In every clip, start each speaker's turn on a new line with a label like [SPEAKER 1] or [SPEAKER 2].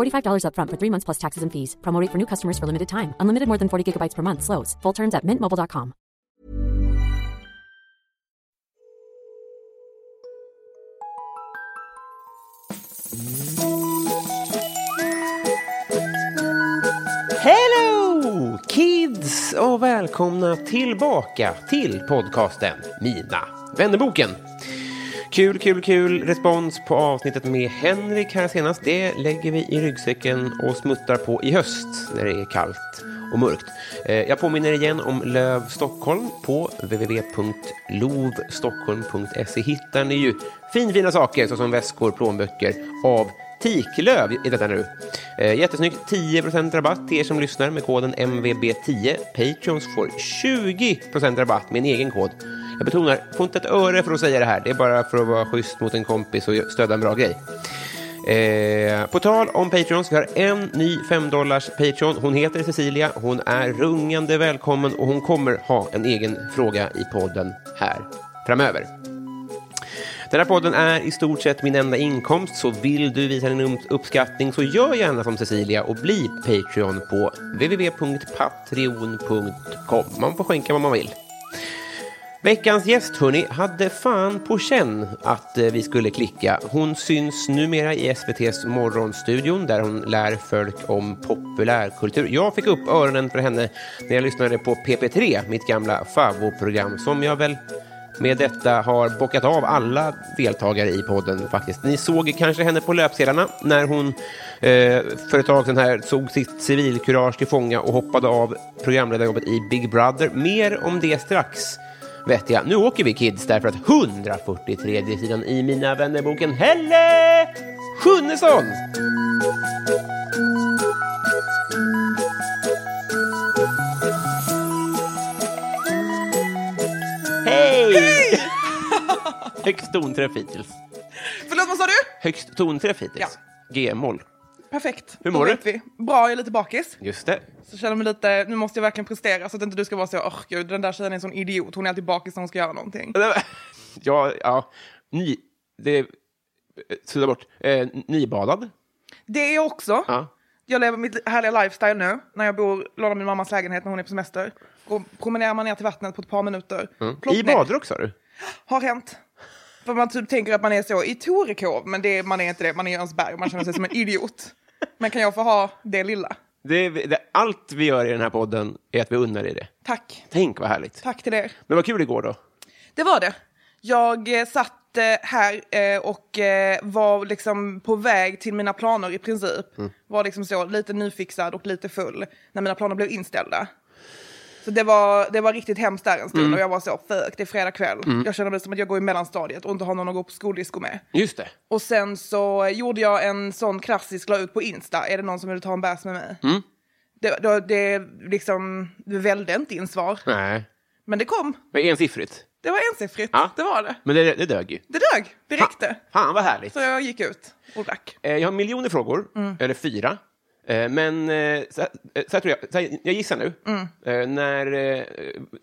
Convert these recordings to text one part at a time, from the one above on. [SPEAKER 1] $45 upfront for three months plus taxes and fees. Promo rate for new customers for limited time. Unlimited more than 40 gigabytes per month. Slows. Full terms at mintmobile.com.
[SPEAKER 2] Hello kids och välkomna tillbaka till podcasten Mina vännerboken. Kul, kul, kul respons på avsnittet med Henrik här senast. Det lägger vi i ryggsäcken och smuttar på i höst när det är kallt och mörkt. Eh, Jag påminner igen om Löv Stockholm på www.lovstockholm.se hittar ni ju finfina saker såsom väskor, plånböcker av Tiklöv är detta nu. Eh, jättesnyggt. 10% rabatt till er som lyssnar med koden MVB10. Patreons får 20% rabatt med en egen kod. Jag betonar, får inte ett öre för att säga det här. Det är bara för att vara schysst mot en kompis och stödja en bra grej. Eh, på tal om Patreons, vi har en ny 5 dollars Patreon. Hon heter Cecilia, hon är rungande välkommen och hon kommer ha en egen fråga i podden här framöver. Den här podden är i stort sett min enda inkomst, så vill du visa din um- uppskattning så gör gärna som Cecilia och bli Patreon på www.patreon.com. Man får skänka vad man vill. Veckans gäst, hörni, hade fan på känn att eh, vi skulle klicka. Hon syns numera i SVTs Morgonstudion där hon lär folk om populärkultur. Jag fick upp öronen för henne när jag lyssnade på PP3, mitt gamla favoprogram som jag väl med detta har bockat av alla deltagare i podden faktiskt. Ni såg kanske henne på löpsedlarna när hon eh, för ett tag sedan här såg sitt civilkurage till fånga och hoppade av programledarjobbet i Big Brother. Mer om det strax vet jag. Nu åker vi kids därför att 143 sidan i Mina vännerboken Helle Schunnesson! Hej! Högst tonträff hittills.
[SPEAKER 3] Förlåt, vad sa du?
[SPEAKER 2] Högst tonträff hittills.
[SPEAKER 3] Ja.
[SPEAKER 2] G-moll.
[SPEAKER 3] Perfekt.
[SPEAKER 2] Hur
[SPEAKER 3] Då
[SPEAKER 2] mår du?
[SPEAKER 3] vet Vi. Bra, jag är lite bakis.
[SPEAKER 2] Just det.
[SPEAKER 3] Så känner mig lite, nu måste jag verkligen prestera så att inte du ska vara så, åh gud, den där tjejen är en sån idiot, hon är alltid bakis när hon ska göra någonting.
[SPEAKER 2] Ja, ja. Ny... Det... eh, Sudda bort. Eh, nybadad.
[SPEAKER 3] Det är jag också.
[SPEAKER 2] Ja.
[SPEAKER 3] Jag lever mitt härliga lifestyle nu, när jag bor, lånar min mammas lägenhet när hon är på semester. Går, promenerar man ner till vattnet på ett par minuter. Plopp
[SPEAKER 2] Mm. I
[SPEAKER 3] ner.
[SPEAKER 2] badrock sa du?
[SPEAKER 3] Har hänt. För man typ tänker att man är så i Torekov, men det, man är inte det, man är i Jönsberg och man känner sig som en idiot. Men kan jag få ha det lilla?
[SPEAKER 2] Det, det, allt vi gör i den här podden är att vi unnar dig det.
[SPEAKER 3] Tack.
[SPEAKER 2] Tänk vad härligt.
[SPEAKER 3] Tack till er.
[SPEAKER 2] Men vad kul igår då.
[SPEAKER 3] Det var det. Jag eh, satt eh, här eh, och eh, var liksom på väg till mina planer i princip.
[SPEAKER 2] Mm.
[SPEAKER 3] Var liksom så lite nyfixad och lite full när mina planer blev inställda. Så det var, det var riktigt hemskt där en stund
[SPEAKER 2] Mm.
[SPEAKER 3] och jag var så, fuck, det är fredag kväll. Jag känner mig som att jag går i mellanstadiet och inte har någon att gå på skoldisco med.
[SPEAKER 2] Just det.
[SPEAKER 3] Och sen så gjorde jag en sån klassisk, la ut på Insta, är det någon som vill ta en bärs med mig?
[SPEAKER 2] Mm.
[SPEAKER 3] Det, det, det liksom, det vällde inte in svar,
[SPEAKER 2] Nej.
[SPEAKER 3] men det kom.
[SPEAKER 2] Men ensiffrigt.
[SPEAKER 3] Det var ensiffrigt,
[SPEAKER 2] Ja.
[SPEAKER 3] det var det.
[SPEAKER 2] Men det, det dög ju.
[SPEAKER 3] Det dög, det räckte.
[SPEAKER 2] Fan vad härligt.
[SPEAKER 3] Så jag gick ut och drack.
[SPEAKER 2] Eh, Jag har miljoner frågor, eller fyra. Eh, Men eh, så, eh, så här tror jag, så här, jag gissar nu. Eh, När eh,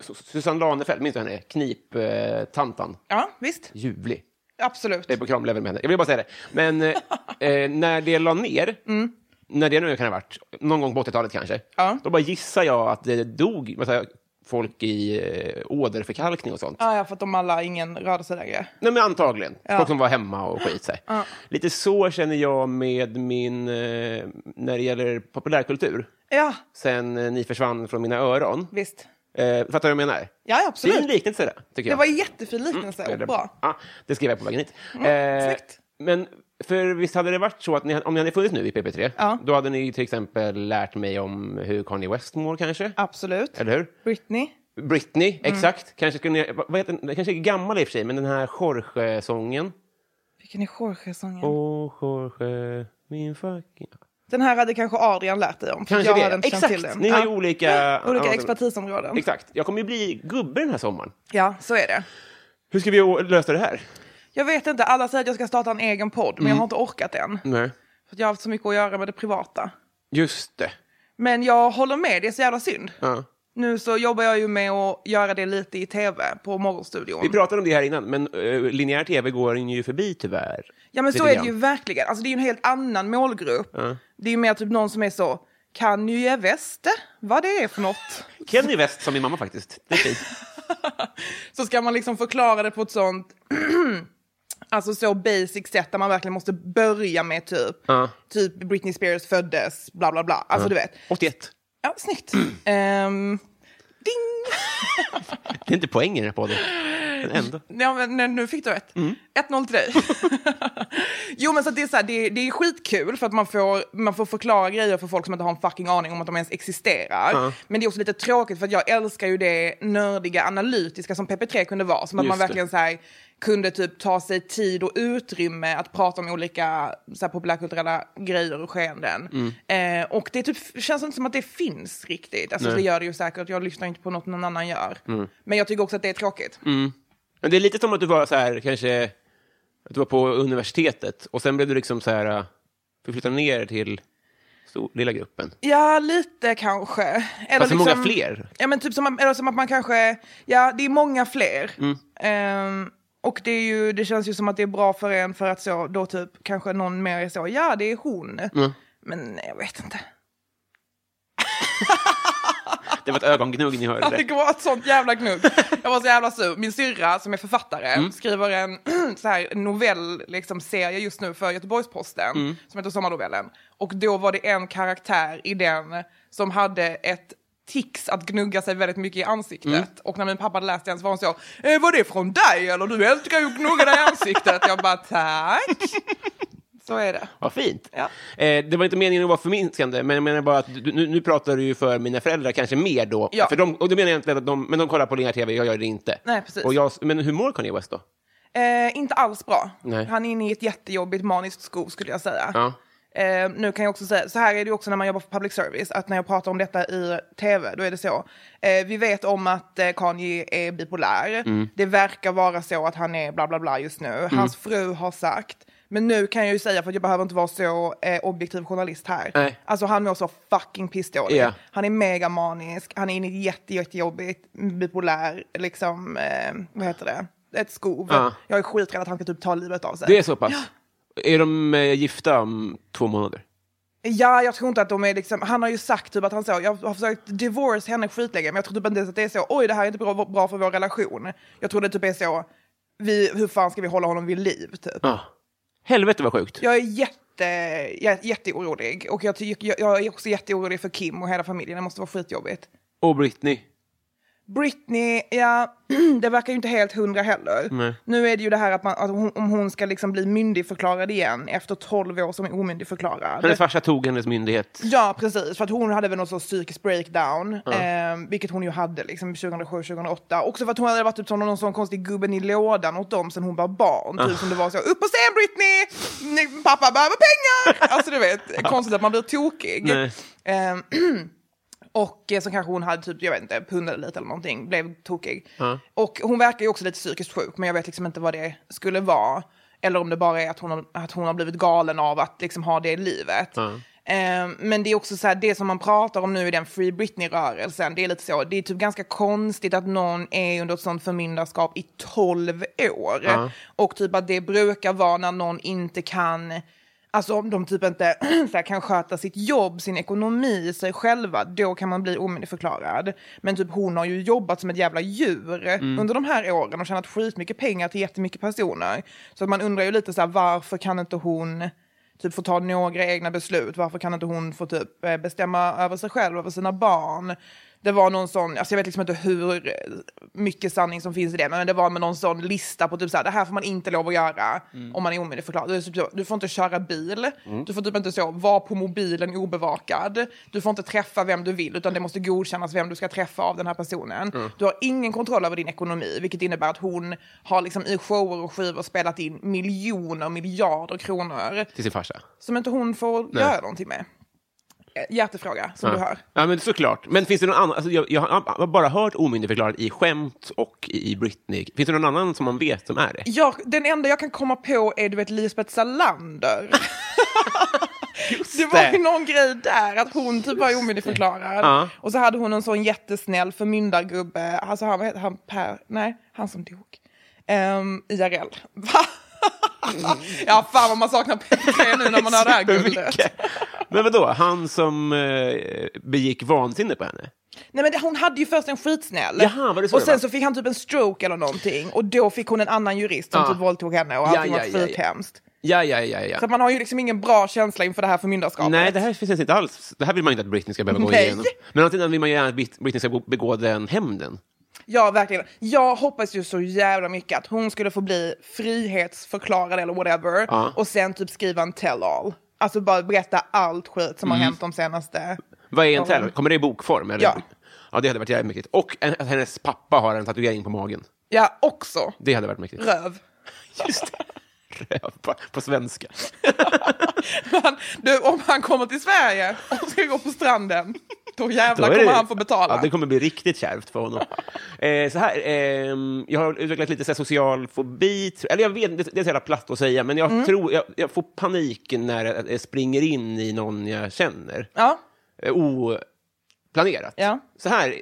[SPEAKER 2] Su- Susanne Lanefeld, minns du henne? Kniptantan. eh,
[SPEAKER 3] Ja, visst.
[SPEAKER 2] Ljuvlig.
[SPEAKER 3] Absolut.
[SPEAKER 2] Jag är på kramlevel med henne. Jag vill bara säga det. Men eh, eh, när det la ner när det nu kan ha varit, någon gång på 80-talet kanske,
[SPEAKER 3] Mm. Ja.
[SPEAKER 2] då bara gissar jag att det dog massa folk i eh, åderförkalkning och sånt.
[SPEAKER 3] Ja, ja, för att de alla, ingen rörde sig längre.
[SPEAKER 2] Nej, men antagligen. Folk som var hemma och skit sig. Lite så känner jag med min, eh, när det gäller populärkultur,
[SPEAKER 3] Ja,
[SPEAKER 2] sen eh, ni försvann från mina öron.
[SPEAKER 3] visst.
[SPEAKER 2] Eh, fattar du vad jag menar?
[SPEAKER 3] Ja, ja,
[SPEAKER 2] Det är
[SPEAKER 3] absolut.
[SPEAKER 2] en liknelse där, tycker
[SPEAKER 3] Det
[SPEAKER 2] jag.
[SPEAKER 3] var en jättefin liknelse och
[SPEAKER 2] Eller-
[SPEAKER 3] bra.
[SPEAKER 2] Ja, Mm. det skrev jag på vägen hit.
[SPEAKER 3] eh, Mm,
[SPEAKER 2] Eh,
[SPEAKER 3] snyggt.
[SPEAKER 2] men för visst hade det varit så att ni, om ni hade funnits nu i PP3,
[SPEAKER 3] Ja.
[SPEAKER 2] då hade ni till exempel lärt mig om hur Kanye West mår kanske?
[SPEAKER 3] Absolut.
[SPEAKER 2] Eller hur?
[SPEAKER 3] Britney.
[SPEAKER 2] Britney,
[SPEAKER 3] Mm.
[SPEAKER 2] exakt. Kanske skulle ni, vad heter den? Den kanske är gammal i och för sig, men den här
[SPEAKER 3] Mm.
[SPEAKER 2] Jorge-sången.
[SPEAKER 3] Vilken är Jorge-sången?
[SPEAKER 2] Åh, Jorge, min fucking...
[SPEAKER 3] Den här hade kanske Adrian lärt dig om. för
[SPEAKER 2] Kanske
[SPEAKER 3] jag
[SPEAKER 2] det.
[SPEAKER 3] Hade inte känt
[SPEAKER 2] Exakt.
[SPEAKER 3] Till den.
[SPEAKER 2] Ni har ju olika-
[SPEAKER 3] olika
[SPEAKER 2] ja,
[SPEAKER 3] expertisområden.
[SPEAKER 2] Exakt. Jag kommer ju bli gubbe den här sommaren.
[SPEAKER 3] Ja, så är det.
[SPEAKER 2] Hur ska vi å- lösa det här?
[SPEAKER 3] Jag vet inte, alla säger att jag ska starta en egen
[SPEAKER 2] Mm.
[SPEAKER 3] podd, men jag har inte orkat än.
[SPEAKER 2] Nej.
[SPEAKER 3] För att jag har haft så mycket att göra med det privata.
[SPEAKER 2] Just det.
[SPEAKER 3] Men jag håller med, det är så jävla synd.
[SPEAKER 2] Ja.
[SPEAKER 3] Nu så jobbar jag ju med att göra det lite i tv på Morgonstudion.
[SPEAKER 2] Vi pratade om det här innan, men uh, linjär tv går en ju förbi tyvärr.
[SPEAKER 3] Ja men
[SPEAKER 2] Lite
[SPEAKER 3] så är det
[SPEAKER 2] grann.
[SPEAKER 3] ju verkligen. Alltså det är ju en helt annan målgrupp. Det är ju mer typ någon som är så, kan ju ge väste vad det är för något.
[SPEAKER 2] Kenny West som min mamma faktiskt. Det är fint.
[SPEAKER 3] så ska man liksom förklara det på ett sånt, alltså så basic sätt där man verkligen måste börja med typ, typ Britney Spears föddes, bla bla bla. Alltså du vet.
[SPEAKER 2] 81.
[SPEAKER 3] Ja, snyggt. Ehm, ding!
[SPEAKER 2] Det är inte poäng i den här podden. Men ändå.
[SPEAKER 3] Ja, men nu- nu fick du ett.
[SPEAKER 2] Mm.
[SPEAKER 3] 1-0 till dig. jo, men så att det är, så här, det, är- det är skitkul för att man får, man får förklara grejer för folk som inte har en fucking aning om att de ens existerar. Men det är också lite tråkigt för att jag älskar ju det nördiga, analytiska som PP3 kunde vara. Som att
[SPEAKER 2] Just
[SPEAKER 3] man
[SPEAKER 2] det.
[SPEAKER 3] verkligen så här, kunde typ ta sig tid och utrymme att prata om olika så här, populärkulturella grejer och skeenden.
[SPEAKER 2] Mm.
[SPEAKER 3] Eh, och det typ, känns inte som att det finns riktigt. Alltså, det gör det ju säkert, jag lyssnar inte på något någon annan gör.
[SPEAKER 2] Mm.
[SPEAKER 3] Men jag tycker också att det är tråkigt.
[SPEAKER 2] Men det är lite som att du var så här, kanske, att du var på universitetet och sen blev du liksom så här, förflyttad ner till stor, lilla gruppen.
[SPEAKER 3] Ja, lite kanske. Eller liksom-
[SPEAKER 2] Fast hur många fler?
[SPEAKER 3] Ja, men typ som, eller som att man kanske... Ja, det är många fler.
[SPEAKER 2] Mm.
[SPEAKER 3] Ehm, och det, är ju, det känns ju som att det är bra för en för att så, då typ kanske någon mer är så, ja det är hon.
[SPEAKER 2] Mm.
[SPEAKER 3] Men nej, jag vet inte.
[SPEAKER 2] Det var ett ögongnugg ni hörde.
[SPEAKER 3] Det var ett sånt jävla gnugg. Jag var så jävla sur. Min syrra som är författare
[SPEAKER 2] Mm.
[SPEAKER 3] skriver en så här, en novell, liksom, serie just nu för Göteborgsposten
[SPEAKER 2] Mm.
[SPEAKER 3] som heter Sommarnovellen. Och då var det en karaktär i den som hade ett tics att gnugga sig väldigt mycket i ansiktet.
[SPEAKER 2] Mm.
[SPEAKER 3] Och när min pappa hade läst den så var hon så, eh, var det från dig eller? Du älskar ju att gnugga dig i ansiktet. Jag bara, tack. Så är det.
[SPEAKER 2] Vad fint.
[SPEAKER 3] Ja.
[SPEAKER 2] Eh, det var inte meningen att vara förminskande, men jag menar bara att du, nu, nu pratar du ju för mina föräldrar kanske mer då.
[SPEAKER 3] Ja.
[SPEAKER 2] För de, och det menar jag inte att de, men de kollar på linjär tv, jag gör det inte.
[SPEAKER 3] Nej, precis.
[SPEAKER 2] Och jag, men hur mår Kanye West då?
[SPEAKER 3] Eh, inte alls bra.
[SPEAKER 2] Nej.
[SPEAKER 3] Han är inne i ett jättejobbigt maniskt skov skulle jag säga.
[SPEAKER 2] Ja.
[SPEAKER 3] Eh, nu kan jag också säga, så här är det ju också när man jobbar för public service, att när jag pratar om detta i tv, då är det så. Eh, vi vet om att eh, Kanye är bipolär.
[SPEAKER 2] Mm.
[SPEAKER 3] Det verkar vara så att han är bla bla bla just nu. Hans fru har sagt, men nu kan jag ju säga, för att jag behöver inte vara så eh, objektiv journalist här.
[SPEAKER 2] Nej.
[SPEAKER 3] Alltså han mår så fucking pissdåligt.
[SPEAKER 2] Ja.
[SPEAKER 3] Han är megamanisk, han är inne i ett jätte, jättejobbigt, bipolär, liksom, eh, vad heter det? Ett skov.
[SPEAKER 2] Ja.
[SPEAKER 3] Jag är skiträdd att han ska typ ta livet av sig.
[SPEAKER 2] Det är så pass? Är de eh, gifta om två månader?
[SPEAKER 3] Ja, jag tror inte att de är liksom, han har ju sagt typ att han så, jag har försökt divorce henne skitlänge, men jag tror typ inte ens att det är så, oj det här är inte bra, bra för vår relation. Jag tror det typ är så, vi, hur fan ska vi hålla honom vid liv typ.
[SPEAKER 2] Ja. Helvete vad sjukt.
[SPEAKER 3] Jag är jätte, jä, jätteorolig och jag, tycker- jag, jag är också jätteorolig för Kim och hela familjen, det måste vara skitjobbigt.
[SPEAKER 2] Och Britney.
[SPEAKER 3] Britney, ja, det verkar ju inte helt hundra heller.
[SPEAKER 2] Nej.
[SPEAKER 3] Nu är det ju det här att, man, att hon, om hon ska liksom bli myndigförklarad igen efter 12 år som är omyndigförklarad.
[SPEAKER 2] Hennes farsa tog hennes myndighet.
[SPEAKER 3] Ja, precis. För att hon hade väl någon sorts psykisk breakdown, eh, vilket hon ju hade liksom 2007-2008. Också för att hon hade varit typ som någon sån konstig gubben i lådan åt dem sen hon var barn. Typ som det var så, upp på scen Britney! Nej, Pappa behöver pengar! Alltså du vet, konstigt att man blir tokig.
[SPEAKER 2] Nej.
[SPEAKER 3] Eh, och eh, så kanske hon hade typ, jag vet inte, pundade lite eller någonting, blev tokig. Och hon verkar ju också lite psykiskt sjuk, men jag vet liksom inte vad det skulle vara. Eller om det bara är att hon har, att hon har blivit galen av att liksom ha det livet. Eh, Men det är också så här, det som man pratar om nu i den Free Britney-rörelsen, det är lite så, det är typ ganska konstigt att någon är under ett sånt förmyndarskap i 12 år. Och typ att det brukar vara när någon inte kan Alltså om de typ inte så här, kan sköta sitt jobb, sin ekonomi, sig själva, då kan man bli omyndigförklarad. Men typ hon har ju jobbat som ett jävla djur under de här åren och tjänat skitmycket pengar till jättemycket personer. Så att man undrar ju lite så här, varför kan inte hon typ få ta några egna beslut? Varför kan inte hon få typ eh, bestämma över sig själv, över sina barn? Det var någon sån, alltså jag vet liksom inte hur mycket sanning som finns i det, men det var med någon sån lista på typ så här, det här får man inte lov att göra om man är omyndigförklarad. Det är typ så, Du får inte köra bil, du får typ inte så, vara på mobilen obevakad, du får inte träffa vem du vill, utan det måste godkännas vem du ska träffa av den här personen. Du har ingen kontroll över din ekonomi, vilket innebär att hon har liksom i shower och skivor spelat in miljoner, miljarder kronor
[SPEAKER 2] Till sin farsa.
[SPEAKER 3] som inte hon får göra någonting med. Eh, Hjärtefråga, som du
[SPEAKER 2] Ja.
[SPEAKER 3] hör.
[SPEAKER 2] ja, men såklart. Men finns det någon annan? Alltså, jag, jag har bara hört omyndigförklarad i skämt och i i Britney. Finns det någon annan som man vet som är det?
[SPEAKER 3] Jag, den enda jag kan komma på är du vet Lisbeth Salander. det var
[SPEAKER 2] det.
[SPEAKER 3] ju någon grej där, att hon typ var omyndigförklarad.
[SPEAKER 2] Ja.
[SPEAKER 3] Och så hade hon en sån jättesnäll förmyndargubbe, alltså han, vad heter han, Per, nej, han som dog. Um, IRL. Va? Mm. ja, fan vad man saknar P3 nu när man har det här guldet.
[SPEAKER 2] Supermycket. Men vadå, han som eh, begick vansinne på henne?
[SPEAKER 3] Nej men det, hon hade ju först en skitsnäll.
[SPEAKER 2] Jaha, var det så
[SPEAKER 3] och
[SPEAKER 2] det
[SPEAKER 3] sen
[SPEAKER 2] var?
[SPEAKER 3] så fick han typ en stroke eller någonting och då fick hon en annan jurist som
[SPEAKER 2] Ah.
[SPEAKER 3] typ våldtog henne och
[SPEAKER 2] Ja,
[SPEAKER 3] allting
[SPEAKER 2] ja,
[SPEAKER 3] var
[SPEAKER 2] ja, ja.
[SPEAKER 3] skithemskt.
[SPEAKER 2] Ja, ja, ja,
[SPEAKER 3] Så
[SPEAKER 2] ja.
[SPEAKER 3] att man har ju liksom ingen bra känsla inför det här förmyndarskapet.
[SPEAKER 2] Nej, det här finns inte alls. Det här vill man inte att Britney ska behöva gå
[SPEAKER 3] Nej.
[SPEAKER 2] igenom. Men å andra sidan vill man ju gärna att Brit- Britney ska bo- begå den hämnden.
[SPEAKER 3] Ja, verkligen. Jag hoppas ju så jävla mycket att hon skulle få bli frihetsförklarad eller whatever
[SPEAKER 2] Ja.
[SPEAKER 3] och sen typ skriva en tell-all. Alltså bara berätta allt skit som
[SPEAKER 2] Mm.
[SPEAKER 3] har hänt de senaste...
[SPEAKER 2] Vad är en
[SPEAKER 3] Ja.
[SPEAKER 2] terror? Kommer det i bokform? Eller?
[SPEAKER 3] Ja.
[SPEAKER 2] ja. Det hade varit jävligt mäktigt. Och en, att hennes pappa har en tatuering på magen.
[SPEAKER 3] Ja, också.
[SPEAKER 2] Det hade varit mäktigt.
[SPEAKER 3] Röv.
[SPEAKER 2] Just det. Röv på, på svenska.
[SPEAKER 3] Men, du, om han kommer till Sverige och ska gå på stranden, då jävlar
[SPEAKER 2] Då är det-
[SPEAKER 3] kommer han få betala.
[SPEAKER 2] Ja, det kommer bli riktigt kärvt för honom. eh, så här, ehm, jag har utvecklat lite så här, social fobi. tr- Eller jag vet, det, det är så jävla platt att säga, men
[SPEAKER 3] Mm.
[SPEAKER 2] jag tror jag, jag får panik när jag, jag springer in i någon jag känner.
[SPEAKER 3] Ja.
[SPEAKER 2] eh, oplanerat.
[SPEAKER 3] Ja.
[SPEAKER 2] Så här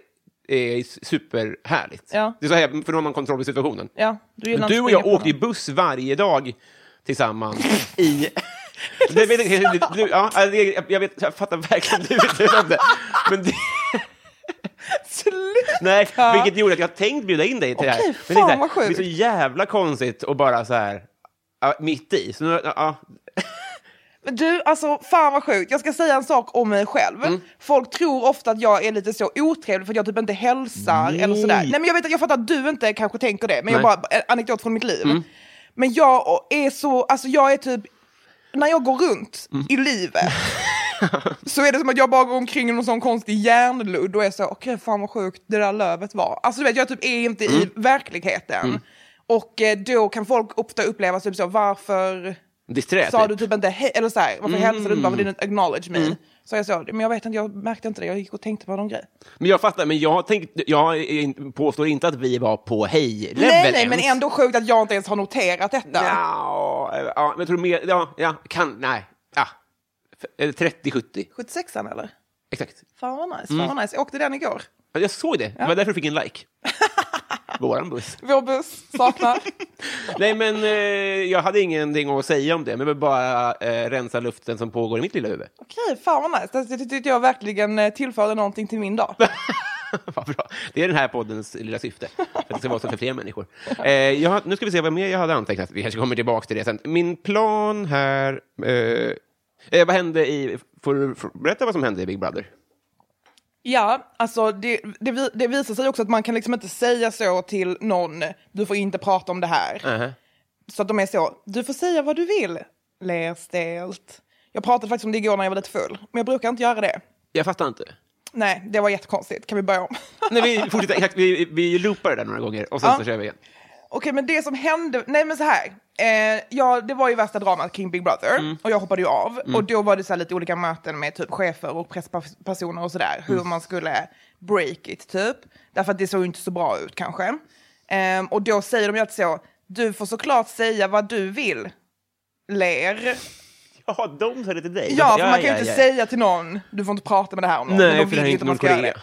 [SPEAKER 2] är s- superhärligt.
[SPEAKER 3] Ja.
[SPEAKER 2] Det är så här, för då har man kontroll över situationen.
[SPEAKER 3] Ja, du, gillar
[SPEAKER 2] Du
[SPEAKER 3] inte
[SPEAKER 2] och jag
[SPEAKER 3] springa på
[SPEAKER 2] åkte ju
[SPEAKER 3] någon.
[SPEAKER 2] buss varje dag tillsammans i... Det vet jag, inte- du, ja, det- jag, jag, vet, jag fattar verkligen du vet inte om det. Men det,
[SPEAKER 3] Sluta!
[SPEAKER 2] nej, vilket gjorde att jag tänkt bjuda in dig till det här. Men
[SPEAKER 3] Okej,
[SPEAKER 2] det är så här,
[SPEAKER 3] fan vad sjukt.
[SPEAKER 2] Det är så jävla konstigt och bara så här, ja, mitt i. Så nu, ja,
[SPEAKER 3] Men Du, alltså fan vad sjukt. Jag ska säga en sak om mig själv. Folk tror ofta att jag är lite så otrevlig för att jag typ inte hälsar eller sådär. Nej men jag vet att jag fattar att du inte kanske tänker det, men jag
[SPEAKER 2] Nej.
[SPEAKER 3] bara, en anekdot från mitt liv. Men jag är så, alltså jag är typ, när jag går runt i livet så är det som att jag bara går omkring i någon sån konstig hjärnludd och är så, okej fan vad sjukt det där lövet var. Alltså du vet, jag typ är inte i verkligheten. Och eh, då kan folk ofta uppleva typ så, varför
[SPEAKER 2] disträ.
[SPEAKER 3] sa
[SPEAKER 2] typ. Mm.
[SPEAKER 3] du typ inte hej, eller så här, varför hälsade du inte bara, "Varför didn't acknowledge me? Så jag sa, men jag vet inte, jag märkte inte det, jag gick och tänkte på någon grej.
[SPEAKER 2] Men jag fattar, men jag, tänk, jag är in- påstår inte att vi var på hej-level
[SPEAKER 3] Nej, nej, men
[SPEAKER 2] ens.
[SPEAKER 3] ändå sjukt att jag inte ens har noterat detta.
[SPEAKER 2] Ja, ja, men jag tror mer... Ja, ja kan... Nej. Ja. F- eh, 30-70.
[SPEAKER 3] 76an eller?
[SPEAKER 2] Exakt.
[SPEAKER 3] Fan vad
[SPEAKER 2] Mm.
[SPEAKER 3] nice, fan vad nice. Jag åkte den igår.
[SPEAKER 2] Ja, Jag såg det. Det var därför du fick en like. Våran buss.
[SPEAKER 3] Vår buss saknar.
[SPEAKER 2] Nej, men eh, jag hade ingenting att säga om det, men jag vill bara eh, rensa luften som pågår i mitt lilla huvud.
[SPEAKER 3] Okej, fan vad nice. Det- Det tyckte jag verkligen eh, tillförde någonting till min dag.
[SPEAKER 2] Vad bra. Det är den här poddens lilla syfte, att det ska vara så för fler människor. Eh, jag, har- nu ska vi se vad mer jag hade antecknat. Vi kanske kommer tillbaka till det sen. Min plan här... Eh, eh, vad hände i... Får du får- berätta vad som hände i Big Brother?
[SPEAKER 3] Ja, alltså det, det, vi- det visar sig också att man kan liksom inte säga så till någon, du får inte prata om det här.
[SPEAKER 2] Uh-huh.
[SPEAKER 3] Så att de är så, du får säga vad du vill, läs stelt. Jag pratade faktiskt om det igår när jag var lite full, men jag brukar inte göra det.
[SPEAKER 2] Jag fattar inte.
[SPEAKER 3] Nej, det var jättekonstigt, kan vi börja om?
[SPEAKER 2] Nej, vi fortsätter. Exakt, vi, vi loopar det där några gånger och sen
[SPEAKER 3] Ja.
[SPEAKER 2] så kör vi igen.
[SPEAKER 3] Okej, men det som hände, nej men så här. Eh, ja, det var ju värsta dramat kring Big Brother och jag hoppade ju av. Och då var det så här lite olika möten med typ chefer och presspersoner och sådär. Hur man skulle break it typ. Därför att det såg ju inte så bra ut kanske. Ehm, och då säger de ju att så, du får såklart säga vad du vill. Ler.
[SPEAKER 2] Jaha, de sa det till dig?
[SPEAKER 3] Ja, för man kan ju inte säga till någon, du får inte prata med det här om någon. Men
[SPEAKER 2] Nej,
[SPEAKER 3] de
[SPEAKER 2] för
[SPEAKER 3] vill
[SPEAKER 2] det är
[SPEAKER 3] ju
[SPEAKER 2] inte
[SPEAKER 3] att man ska göra
[SPEAKER 2] Nordkorea.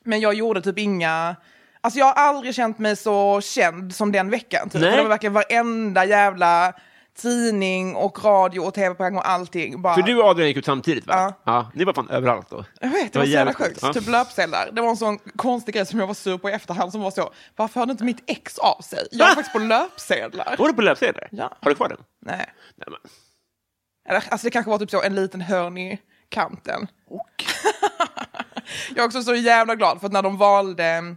[SPEAKER 3] det. Men jag gjorde typ inga... Alltså jag har aldrig känt mig så känd som den veckan. Typ.
[SPEAKER 2] Nej.
[SPEAKER 3] Det var verkligen varenda jävla tidning och radio och tv-program och allting. Bara,
[SPEAKER 2] För du och Adrian gick ut samtidigt va?
[SPEAKER 3] Ja.
[SPEAKER 2] Ni var fan överallt då.
[SPEAKER 3] jag vet, det var så jävla sjukt. Typ löpsedlar. Det var en sån konstig grej som jag var sur på i efterhand som var så, varför hörde inte mitt ex av sig? Jag var faktiskt på löpsedlar.
[SPEAKER 2] Var du på löpsedlar?
[SPEAKER 3] Ja.
[SPEAKER 2] Har du kvar den?
[SPEAKER 3] Nej.
[SPEAKER 2] Nej, men.
[SPEAKER 3] Eller, alltså det kanske var typ så en liten hörn i kanten. jag är också så jävla glad för att när de valde mm,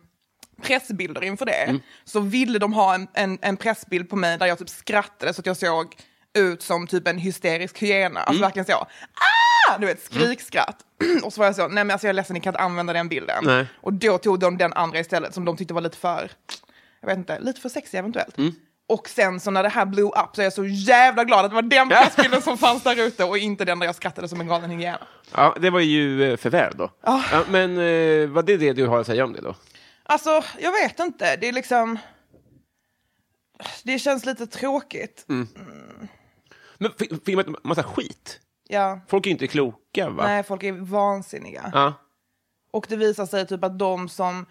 [SPEAKER 3] pressbilder inför det så ville de ha en, en, en pressbild på mig där jag typ skrattade så att jag såg ut som typ en hysterisk hyena. Alltså verkligen så. Ah! Du vet, skrikskratt. Och så var jag så, nej men alltså jag är ledsen, ni kan inte använda den bilden.
[SPEAKER 2] Nej.
[SPEAKER 3] Och då tog de den andra istället som de tyckte var lite för, jag vet inte, lite för sexig eventuellt.
[SPEAKER 2] Mm.
[SPEAKER 3] Och sen så när det här blew up så är jag så jävla glad att det var den pressbilden som fanns där ute och inte den där jag skrattade som en galen hyena.
[SPEAKER 2] Ja, det var ju eh, för väl då. Ja, men eh, vad det är det du har att säga om det då?
[SPEAKER 3] Alltså, jag vet inte. Det är liksom... Det känns lite tråkigt.
[SPEAKER 2] Mm. Men f- filmat en massa skit.
[SPEAKER 3] Ja.
[SPEAKER 2] Folk är ju inte kloka va?
[SPEAKER 3] Nej, folk är vansinniga.
[SPEAKER 2] Ja.
[SPEAKER 3] Och det visar sig typ att de som...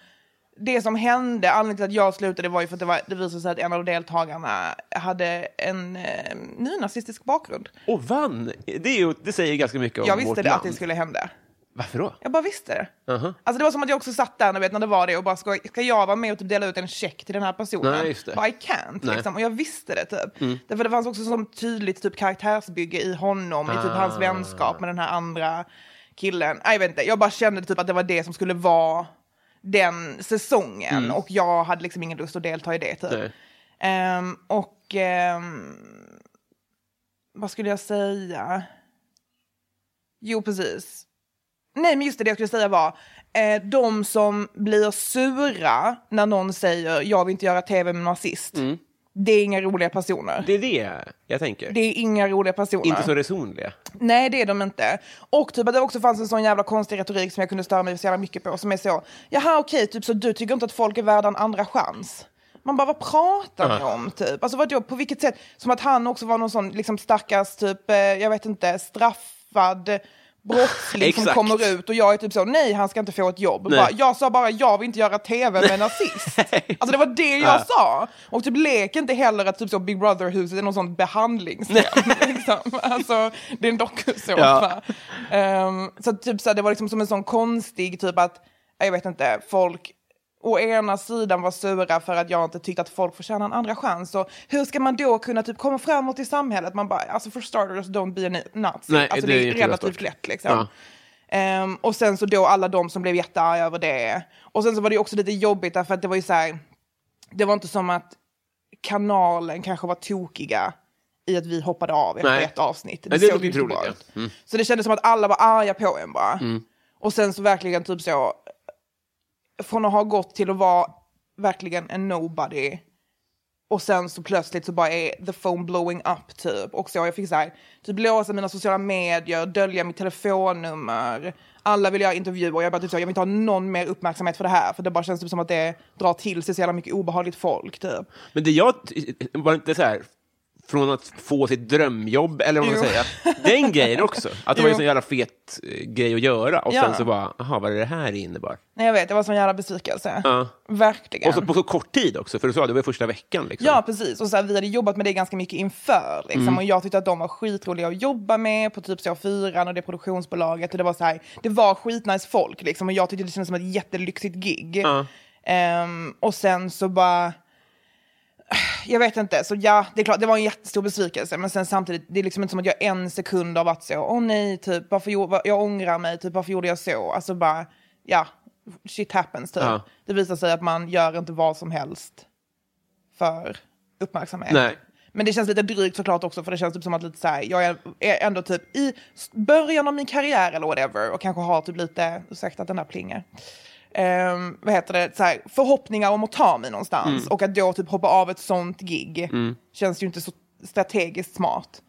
[SPEAKER 3] Det som hände, anledningen till att jag slutade var ju för att det, var, det visade sig att en av deltagarna hade en eh, nynazistisk bakgrund.
[SPEAKER 2] Och vann! Det, är ju, det säger ganska mycket om
[SPEAKER 3] Jag
[SPEAKER 2] vårt
[SPEAKER 3] visste det
[SPEAKER 2] land.
[SPEAKER 3] att det skulle hända.
[SPEAKER 2] Varför då?
[SPEAKER 3] Jag bara visste det. Alltså det var som att jag också satt där när, vet, när det var det och bara, ska, ska jag vara med och typ dela ut en check till den här personen?
[SPEAKER 2] Nej, just det.
[SPEAKER 3] Bara, I can't.
[SPEAKER 2] Nej. Mm.
[SPEAKER 3] Liksom. Och jag visste det typ. Därför det fanns också sånt tydligt typ karaktärsbygge i honom, i typ
[SPEAKER 2] Ah.
[SPEAKER 3] hans vänskap med den här andra killen. Nej, jag vet inte. Jag bara kände typ att det var det som skulle vara den säsongen och jag hade liksom ingen lust att delta i det typ.
[SPEAKER 2] Mm. Nej.
[SPEAKER 3] Ehm, och ehm, vad skulle jag säga? Jo, precis. Nej, men just det, det jag skulle säga var eh, de som blir sura när någon säger jag vill inte göra tv med nazist. Det är inga roliga personer.
[SPEAKER 2] Mm. Det är det jag tänker.
[SPEAKER 3] Det är inga roliga personer.
[SPEAKER 2] Inte så resonliga.
[SPEAKER 3] Nej, det är de inte. Och typ att det också fanns en sån jävla konstig retorik som jag kunde störa mig så jävla mycket på. Som är så, jaha okej, typ så du tycker inte att folk är värda en andra chans? Man bara, vad pratar ni om typ? Alltså vadå, på vilket sätt? Som att han också var någon sån liksom stackars typ, eh, jag vet inte, straffad brottsling som
[SPEAKER 2] Exakt.
[SPEAKER 3] kommer ut och jag är typ så, nej han ska inte få ett jobb.
[SPEAKER 2] Nej.
[SPEAKER 3] Bara, jag sa bara, jag vill inte göra tv med nazist. Alltså det var det jag sa. Och typ lek inte heller att typ så Big Brother-huset är någon sån behandlingshem. liksom. Alltså det är en dokusåpa.
[SPEAKER 2] Ja.
[SPEAKER 3] Ehm, så att typ så här, det var liksom som en sån konstig typ att, jag vet inte, folk å ena sidan var sura för att jag inte tyckte att folk förtjänar en andra chans. Och hur ska man då kunna typ komma framåt i samhället? Man bara, alltså for starters, don't be a ni- nazi.
[SPEAKER 2] Nej,
[SPEAKER 3] alltså,
[SPEAKER 2] det
[SPEAKER 3] det,
[SPEAKER 2] är
[SPEAKER 3] är
[SPEAKER 2] inte
[SPEAKER 3] relativt
[SPEAKER 2] svårt.
[SPEAKER 3] lätt liksom.
[SPEAKER 2] Ja.
[SPEAKER 3] Ehm, och sen så då alla de som blev jättearga över det. Och sen så var det ju också lite jobbigt därför att det var ju så här, det var inte som att kanalen kanske var tokiga i att vi hoppade av efter
[SPEAKER 2] Nej.
[SPEAKER 3] ett avsnitt.
[SPEAKER 2] Nej, det låter
[SPEAKER 3] såg ju
[SPEAKER 2] ju Mm.
[SPEAKER 3] inte
[SPEAKER 2] troligt,
[SPEAKER 3] bra ut. Så det kändes som att alla var arga på en bara.
[SPEAKER 2] Mm.
[SPEAKER 3] Och sen så verkligen typ så, från att ha gått till att vara verkligen en nobody. Och sen så plötsligt så bara är the phone blowing up typ. Och så jag fick så här, typ låsa mina sociala medier, dölja mitt telefonnummer. Alla vill göra intervjuer. Jag bara typ så, jag vill inte ha någon mer uppmärksamhet för det här. För det bara känns typ som att det drar till sig så jävla mycket obehagligt folk typ.
[SPEAKER 2] Men det jag... ty- Var inte så här... Från att få sitt drömjobb, eller vad man ska
[SPEAKER 3] Jo.
[SPEAKER 2] säga. Den grejen också. Att det var en
[SPEAKER 3] Jo.
[SPEAKER 2] sån jävla fet eh, grej att göra. Och
[SPEAKER 3] Ja.
[SPEAKER 2] sen så bara, aha, vad är det här innebar?
[SPEAKER 3] Nej jag vet, det var en sån jävla besvikelse.
[SPEAKER 2] Ja.
[SPEAKER 3] Verkligen.
[SPEAKER 2] Och så på så kort tid också, för du sa det var ju första veckan. Liksom.
[SPEAKER 3] Ja, precis. Och så här, vi hade jobbat med det ganska mycket inför. Liksom. Och jag tyckte att de var skitroliga att jobba med på typ så fyran och det produktionsbolaget. Och det var så här, det var skitnice folk liksom. Och jag tyckte det kändes som ett jättelyxigt gig. Ehm, och sen så bara... Jag vet inte, så ja, det är klart, det var en jättestor besvikelse. Men sen samtidigt, det är liksom inte som att jag en sekund har varit så, åh nej, typ, varför gjorde, jag ångrar mig, typ, varför gjorde jag så? Alltså bara, ja, shit happens typ.
[SPEAKER 2] Ja.
[SPEAKER 3] Det visar sig att man gör inte vad som helst för uppmärksamhet.
[SPEAKER 2] Nej.
[SPEAKER 3] Men det känns lite drygt såklart också för det känns typ som att lite så här, jag är, är ändå typ i s- början av min karriär eller whatever och kanske har typ lite, ursäkta att den där plingar. Ehm, vad heter det, så här, förhoppningar om att ta mig någonstans och att då typ hoppa av ett sånt gig känns ju inte så strategiskt smart.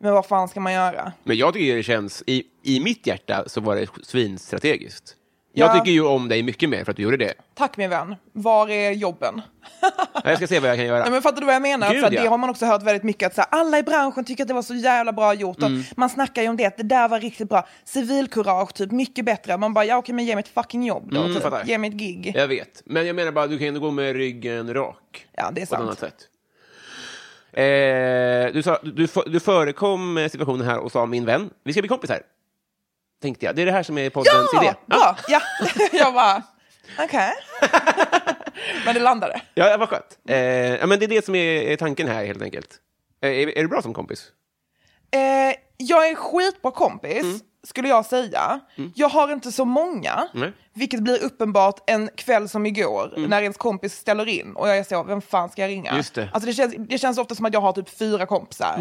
[SPEAKER 3] Men vad fan ska man göra?
[SPEAKER 2] Men jag tycker det känns, i, i mitt hjärta så var det svinstrategiskt. Jag
[SPEAKER 3] Ja.
[SPEAKER 2] tycker ju om dig mycket mer för att du gjorde det.
[SPEAKER 3] Tack min vän, var är jobben?
[SPEAKER 2] Ja, Jag ska se vad jag kan göra.
[SPEAKER 3] Nej, men fattar du vad jag menar?
[SPEAKER 2] Gud,
[SPEAKER 3] för att det
[SPEAKER 2] ja.
[SPEAKER 3] har man också hört väldigt mycket att så här, alla i branschen tycker att det var så jävla bra gjort.
[SPEAKER 2] Mm.
[SPEAKER 3] Och Man snackar ju om det, att det där var riktigt bra. Civilkurage, typ, mycket bättre. Man bara, ja okej men ge mig ett fucking jobb då.
[SPEAKER 2] Mm, jag
[SPEAKER 3] typ.
[SPEAKER 2] fattar.
[SPEAKER 3] Ge mig ett gig. Ja,
[SPEAKER 2] Jag vet, men jag menar bara, du kan ju ändå gå med ryggen rak.
[SPEAKER 3] det är
[SPEAKER 2] På ett annat
[SPEAKER 3] sant.
[SPEAKER 2] sätt. Eh, du, sa, du, du förekom eh, situationen här och sa min vän, vi ska bli kompisar. Tänkte jag. Det är det här som är poddens idé.
[SPEAKER 3] Ja,
[SPEAKER 2] Ja,
[SPEAKER 3] bra! Ja. Jag bara, okej. Men det landade.
[SPEAKER 2] ja, vad skönt. Eh, ja, men det är det som är, är tanken här helt enkelt. Eh, är, är du bra som kompis?
[SPEAKER 3] Eh, jag är en skitbra kompis,
[SPEAKER 2] Mm.
[SPEAKER 3] skulle jag säga. Jag har inte så många,
[SPEAKER 2] Nej. Mm.
[SPEAKER 3] vilket blir uppenbart en kväll som igår när ens kompis ställer in och jag är så, vem fan ska jag ringa?
[SPEAKER 2] Just det. Mm.
[SPEAKER 3] Alltså, det, känns, det känns ofta som att jag har typ fyra kompisar.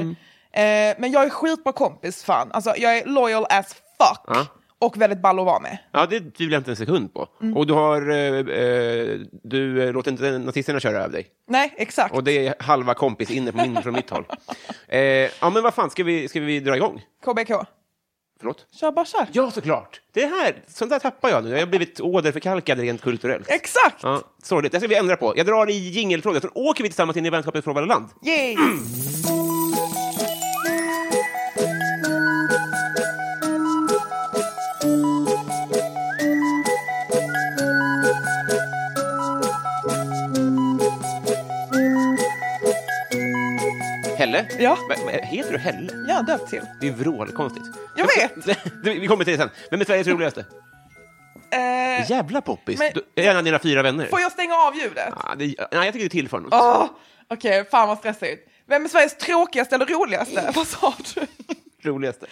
[SPEAKER 3] Eh, men jag är skitbra kompis, fan. Alltså, jag är loyal as fuck
[SPEAKER 2] Ja.
[SPEAKER 3] och väldigt ball att vara med.
[SPEAKER 2] Ja, det tvivlar jag inte en sekund på. Och du har... Eh, eh, du eh, låter inte nazisterna köra över dig.
[SPEAKER 3] Nej, exakt.
[SPEAKER 2] Och det är halva kompis inne på min, från mitt håll. Eh, ja, men vad fan, ska vi, ska vi dra igång?
[SPEAKER 3] KBK.
[SPEAKER 2] Förlåt?
[SPEAKER 3] Kör bara kör.
[SPEAKER 2] Ja, såklart! Det här, sånt där tappar jag nu. Jag har blivit åderförkalkad rent kulturellt.
[SPEAKER 3] Exakt!
[SPEAKER 2] Ja, sorgligt. Det ska vi ändra på. Jag drar i jingeltråden, så åker vi tillsammans in i vänskapen från varje land.
[SPEAKER 3] Yay!
[SPEAKER 2] Helle?
[SPEAKER 3] Ja.
[SPEAKER 2] Men, men, heter du Helle?
[SPEAKER 3] Jag är döpt till.
[SPEAKER 2] Det är vrålkonstigt.
[SPEAKER 3] Jag
[SPEAKER 2] Du, vi kommer till det sen. Vem är Sveriges roligaste?
[SPEAKER 3] Eh,
[SPEAKER 2] Jävla poppis!
[SPEAKER 3] Men-
[SPEAKER 2] Du, en av dina fyra vänner.
[SPEAKER 3] får jag stänga av ljudet?
[SPEAKER 2] Ja, det, nej, jag tycker det tillför något.
[SPEAKER 3] Åh, Okej, fan vad stressigt. Vem är Sveriges tråkigaste eller
[SPEAKER 2] Mm.
[SPEAKER 3] roligaste? Vad sa du?
[SPEAKER 2] Roligaste.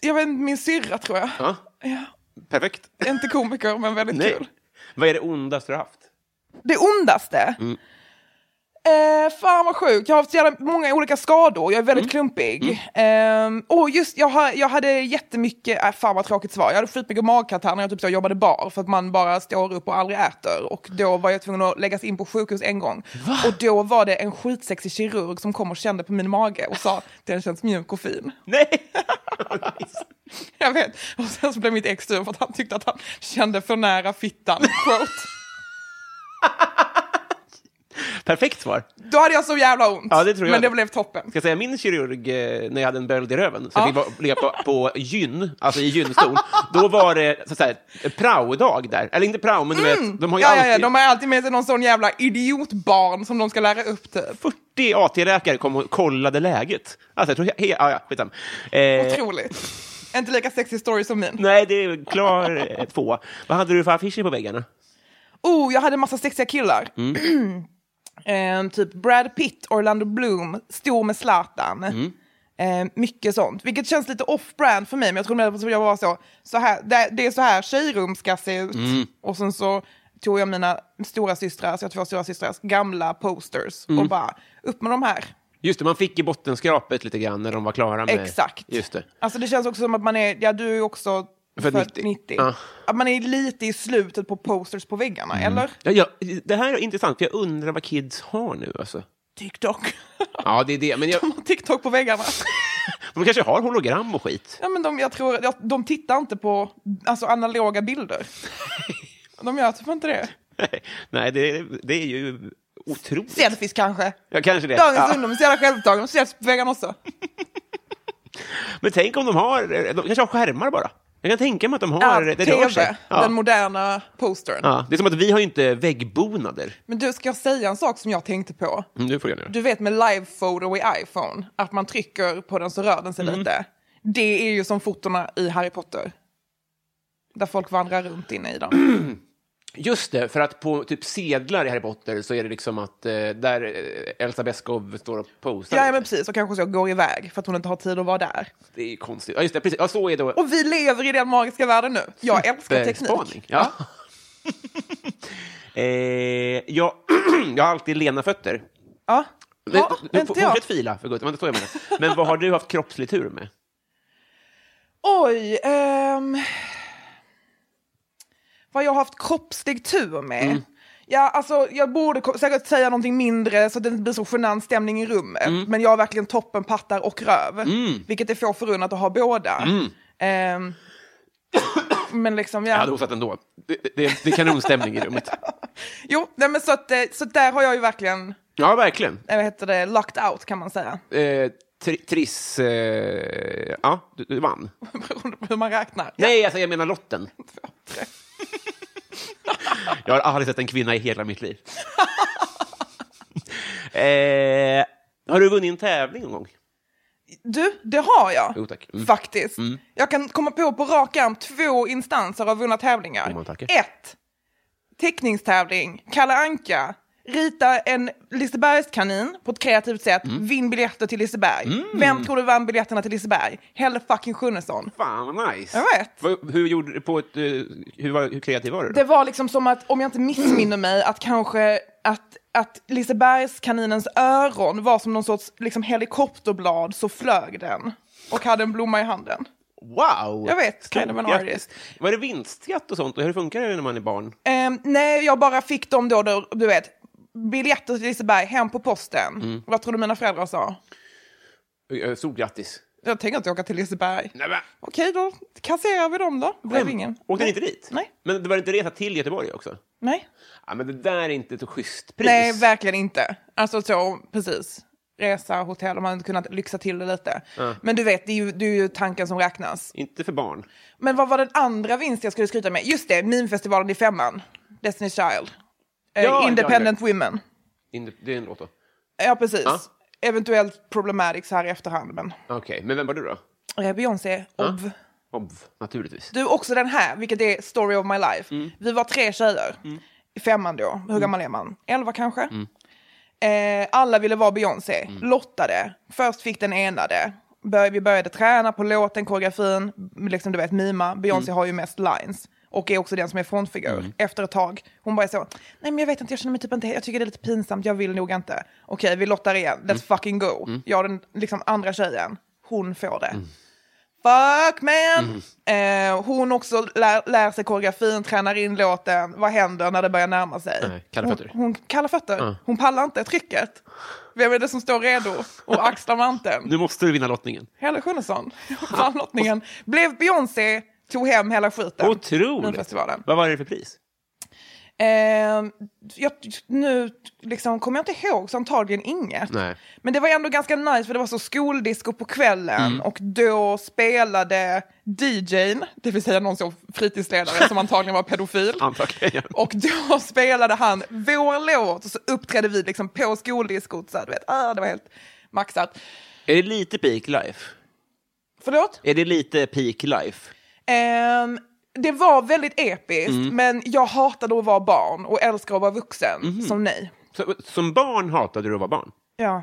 [SPEAKER 3] Jag vet inte, min syrra tror jag.
[SPEAKER 2] Ja,
[SPEAKER 3] Ja.
[SPEAKER 2] perfekt.
[SPEAKER 3] Inte komiker, men väldigt
[SPEAKER 2] Nej.
[SPEAKER 3] kul.
[SPEAKER 2] Vad är det ondaste du har haft?
[SPEAKER 3] Det ondaste?
[SPEAKER 2] Mm.
[SPEAKER 3] Eh, fan vad sjukt, jag har haft så jävla många olika skador, jag är
[SPEAKER 2] Mm.
[SPEAKER 3] väldigt klumpig. Ehm, Åh just, jag, har, jag hade jättemycket, äh, fan vad tråkigt svar, jag hade skitmycket magkatarr när jag typ så jobbade bar för att man bara står upp och aldrig äter. Och då var jag tvungen att läggas in på sjukhus en gång. Och då var det en skitsexig kirurg som kom och kände på min mage och sa den känns mjuk och fin.
[SPEAKER 2] Nej!
[SPEAKER 3] Jag vet. Och sen så blev mitt ex sur för att han tyckte att han kände för nära fittan. Quote.
[SPEAKER 2] Perfekt svar.
[SPEAKER 3] Då hade jag så jävla ont.
[SPEAKER 2] Ja, det tror jag.
[SPEAKER 3] Men det blev toppen.
[SPEAKER 2] Ska jag säga min kirurg, eh, när jag hade en böld i röven, så jag
[SPEAKER 3] Ja.
[SPEAKER 2] fick vara- ligga på, på gyn, alltså i gynstol, då var det så att säga, prao-dag där. Eller inte prao, men du vet, de har ju
[SPEAKER 3] Mm. Ja, ja,
[SPEAKER 2] alltid...
[SPEAKER 3] ja, de har alltid med sig någon sån jävla idiotbarn som de ska lära upp
[SPEAKER 2] Eh.
[SPEAKER 3] typ.
[SPEAKER 2] 40 AT-läkare kom och kollade läget. Alltså, jag tror... He- he- ja, ja, skitsamma. Eh,
[SPEAKER 3] Otroligt. Inte lika sexy story som min.
[SPEAKER 2] nej, det är klar eh, två. Vad hade du för affischer på väggarna?
[SPEAKER 3] Oh, jag hade en massa sexiga killar.
[SPEAKER 2] Mm.
[SPEAKER 3] Ehm, typ Brad Pitt, Orlando Bloom, stor med Zlatan.
[SPEAKER 2] Mm.
[SPEAKER 3] Ehm, mycket sånt, vilket känns lite off-brand för mig. Men jag trodde mer att jag var så, så här, det, det är så här tjejrum ska se ut.
[SPEAKER 2] Mm.
[SPEAKER 3] Och sen så tog jag mina stora systrar, så jag har två stora systrars gamla posters
[SPEAKER 2] Mm.
[SPEAKER 3] och bara upp med de här.
[SPEAKER 2] Just det, man fick i bottenskrapet lite grann när de var klara med...
[SPEAKER 3] Exakt.
[SPEAKER 2] Just det.
[SPEAKER 3] Alltså det känns också som att man är, ja du är ju också
[SPEAKER 2] Född
[SPEAKER 3] född
[SPEAKER 2] 90.
[SPEAKER 3] 90.
[SPEAKER 2] Ja.
[SPEAKER 3] Att man är lite i slutet på posters på väggarna, eller?
[SPEAKER 2] Ja, ja, det här är intressant, för jag undrar vad kids har nu alltså.
[SPEAKER 3] TikTok.
[SPEAKER 2] Ja, det är det. Men jag,
[SPEAKER 3] De har TikTok på väggarna.
[SPEAKER 2] de kanske har hologram och skit.
[SPEAKER 3] Ja, men de, jag tror, jag, de tittar inte på alltså, analoga bilder. De gör typ inte det.
[SPEAKER 2] Nej, det, det är ju otroligt.
[SPEAKER 3] Selfies kanske.
[SPEAKER 2] Ja, kanske det.
[SPEAKER 3] Dagens
[SPEAKER 2] Ja.
[SPEAKER 3] ungdom är så jävla självupptagna. De ses på väggarna också.
[SPEAKER 2] Men tänk om de har... De kanske har skärmar bara. Jag kan tänka mig att de
[SPEAKER 3] Ja,
[SPEAKER 2] har... det rör sig.
[SPEAKER 3] TV,
[SPEAKER 2] Ja.
[SPEAKER 3] den moderna postern.
[SPEAKER 2] ja. Det är som att vi har ju inte väggbonader.
[SPEAKER 3] Men du, ska jag säga en sak som jag tänkte på?
[SPEAKER 2] Mm, Du får gärna göra.
[SPEAKER 3] Du vet med live photo i iPhone, att man trycker på den så rör den sig
[SPEAKER 2] Mm.
[SPEAKER 3] lite. Det är ju som fotorna i Harry Potter. Där folk vandrar runt inne i dem.
[SPEAKER 2] Just det, för att på typ sedlar i Harry Potter så är det liksom att eh, där eh, Elsa Beskow står och posar.
[SPEAKER 3] Ja,
[SPEAKER 2] lite.
[SPEAKER 3] men precis. Och kanske så går iväg för att hon inte har tid att vara där.
[SPEAKER 2] Det är ju konstigt. Ja, just det. Precis. Ja, så är det.
[SPEAKER 3] Och vi lever i den magiska världen nu. Jag älskar
[SPEAKER 2] Spaning.
[SPEAKER 3] teknik.
[SPEAKER 2] Ja. eh, jag, jag har alltid lena fötter.
[SPEAKER 3] Ja.
[SPEAKER 2] Men,
[SPEAKER 3] Ja,
[SPEAKER 2] nu,
[SPEAKER 3] inte jag.
[SPEAKER 2] fortsätt fila, för gud. Det var inte så jag menade. Men vad har du haft kroppslig tur med?
[SPEAKER 3] Oj. ehm. vad jag har haft kroppslig tur med.
[SPEAKER 2] Mm.
[SPEAKER 3] Ja, alltså, jag borde ko- säkert säga någonting mindre så att det inte blir så genant stämning i rummet.
[SPEAKER 2] Mm.
[SPEAKER 3] Men jag har verkligen toppen, pattar och röv. Vilket är få förunnat att ha båda.
[SPEAKER 2] Mm.
[SPEAKER 3] Ehm. men liksom,
[SPEAKER 2] Jag
[SPEAKER 3] ja.
[SPEAKER 2] hade hostat ändå. Det, det, det är kanonstämning i rummet.
[SPEAKER 3] Jo, nej, men så, att, eh, så att där har jag ju verkligen,
[SPEAKER 2] Ja, verkligen.
[SPEAKER 3] eh, vad heter det, locked out kan man säga.
[SPEAKER 2] Eh, tri, triss... Eh, ja, du, du vann.
[SPEAKER 3] Beroende på hur man räknar.
[SPEAKER 2] Nej, alltså, jag menar lotten. Jag har aldrig sett en kvinna i hela mitt liv. Eh, Eh, har du vunnit en tävling någon gång?
[SPEAKER 3] Du, det har jag.
[SPEAKER 2] Jo, tack. Mm.
[SPEAKER 3] Faktiskt. Jag kan komma på på rak arm två instanser av vunna tävlingar.
[SPEAKER 2] Om man tackar.
[SPEAKER 3] Ett, teckningstävling, Kalle Anka, rita en Lisebergskanin på ett kreativt sätt,
[SPEAKER 2] Mm.
[SPEAKER 3] vinn biljetter till Liseberg. Vem tror du vann biljetterna till Liseberg? Helle fucking Schunnesson.
[SPEAKER 2] Fan vad nice.
[SPEAKER 3] Jag vet.
[SPEAKER 2] Vad- Hur, gjorde du på ett, eh, hur, var, hur kreativ var du? då?
[SPEAKER 3] Det var liksom som att, om jag inte missminner mig, att kanske att, att Lisebergskaninens öron var som någon sorts liksom, helikopterblad så flög den och hade en blomma i handen.
[SPEAKER 2] Wow!
[SPEAKER 3] Jag vet, kind of an
[SPEAKER 2] Grattis.
[SPEAKER 3] artist.
[SPEAKER 2] Var det vinstskatt och sånt? Och hur funkar det när man är barn?
[SPEAKER 3] Ehm, nej, jag bara fick dem då, då du vet, biljetter till Liseberg hem på posten.
[SPEAKER 2] Mm.
[SPEAKER 3] Vad tror du mina föräldrar sa?
[SPEAKER 2] Eh, Stort grattis.
[SPEAKER 3] Jag tänker inte åka till Liseberg.
[SPEAKER 2] Nej, men,
[SPEAKER 3] Okej, då kasserar vi dem då. Blev ingen.
[SPEAKER 2] Åkte ni inte dit?
[SPEAKER 3] Nej.
[SPEAKER 2] Men det var inte resa till Göteborg också?
[SPEAKER 3] Nej.
[SPEAKER 2] Ja, men det där är inte ett så schysst pris.
[SPEAKER 3] Nej, verkligen inte. Alltså så, precis. Resa, hotell, om man hade kunnat lyxa till det lite. Men du vet, det är, ju, det är ju tanken som räknas.
[SPEAKER 2] Inte för barn.
[SPEAKER 3] Men vad var den andra vinsten jag skulle skryta med? Just det, Meme-festivalen i femman. Destiny's Child. Eh,
[SPEAKER 2] ja, ja.
[SPEAKER 3] Independent Women.
[SPEAKER 2] In- Det är en låt då.
[SPEAKER 3] Ja, precis. Eventuellt Problematics här i efterhand, men...
[SPEAKER 2] Okej, men vem var du då?
[SPEAKER 3] Eh, Beyoncé, obv.
[SPEAKER 2] Obv, naturligtvis.
[SPEAKER 3] Du, också den här, vilket är story of my life. Vi var tre tjejer i femman då. Hur gammal är man? Elva kanske? Eh, alla ville vara Beyoncé. Lottade. Först fick den ena det. Bör, vi började träna på låten, koreografin, liksom du vet mima. Beyoncé har ju mest lines. Och är också den som är frontfigur. Efter ett tag, hon bara är så, nej men jag vet inte, jag känner mig typ inte, jag tycker det är lite pinsamt, jag vill nog inte. Okej, vi lottar igen, let's fucking go. Jag den liksom andra tjejen, hon får det. Fuck man!
[SPEAKER 2] Mm.
[SPEAKER 3] Eh, hon också lär, lär sig koreografin, tränar in låten. Vad händer när det börjar närma sig?
[SPEAKER 2] Nej, Eh, kalla
[SPEAKER 3] hon,
[SPEAKER 2] fötter. Ah.
[SPEAKER 3] Hon, kalla fötter. Hon pallar inte trycket. Vem är det som står redo och axlar manteln?
[SPEAKER 2] Nu Ah. måste du vinna lottningen.
[SPEAKER 3] Helle Schunnesson. Vann lottningen. Blev Beyoncé, tog hem hela skiten. Den
[SPEAKER 2] Otroligt!
[SPEAKER 3] festivalen.
[SPEAKER 2] Vad var det för pris?
[SPEAKER 3] Eh, jag, nu liksom, kommer jag inte ihåg, så antagligen inget.
[SPEAKER 2] Nej.
[SPEAKER 3] Men det var ändå ganska nice för det var så skoldisco på kvällen och då spelade DJn, det vill säga någon som fritidsledare som antagligen var pedofil.
[SPEAKER 2] Antagligen.
[SPEAKER 3] Och då spelade han vår låt och så uppträdde vi liksom på skoldiscot. Så här, du vet, ah, det var helt maxat.
[SPEAKER 2] Är det lite peak life?
[SPEAKER 3] Förlåt?
[SPEAKER 2] Är det lite peak life?
[SPEAKER 3] Ehm, det var väldigt episkt, men jag hatade att vara barn och älskar att vara vuxen, som ni.
[SPEAKER 2] Så, som barn hatade du att vara barn?
[SPEAKER 3] Ja.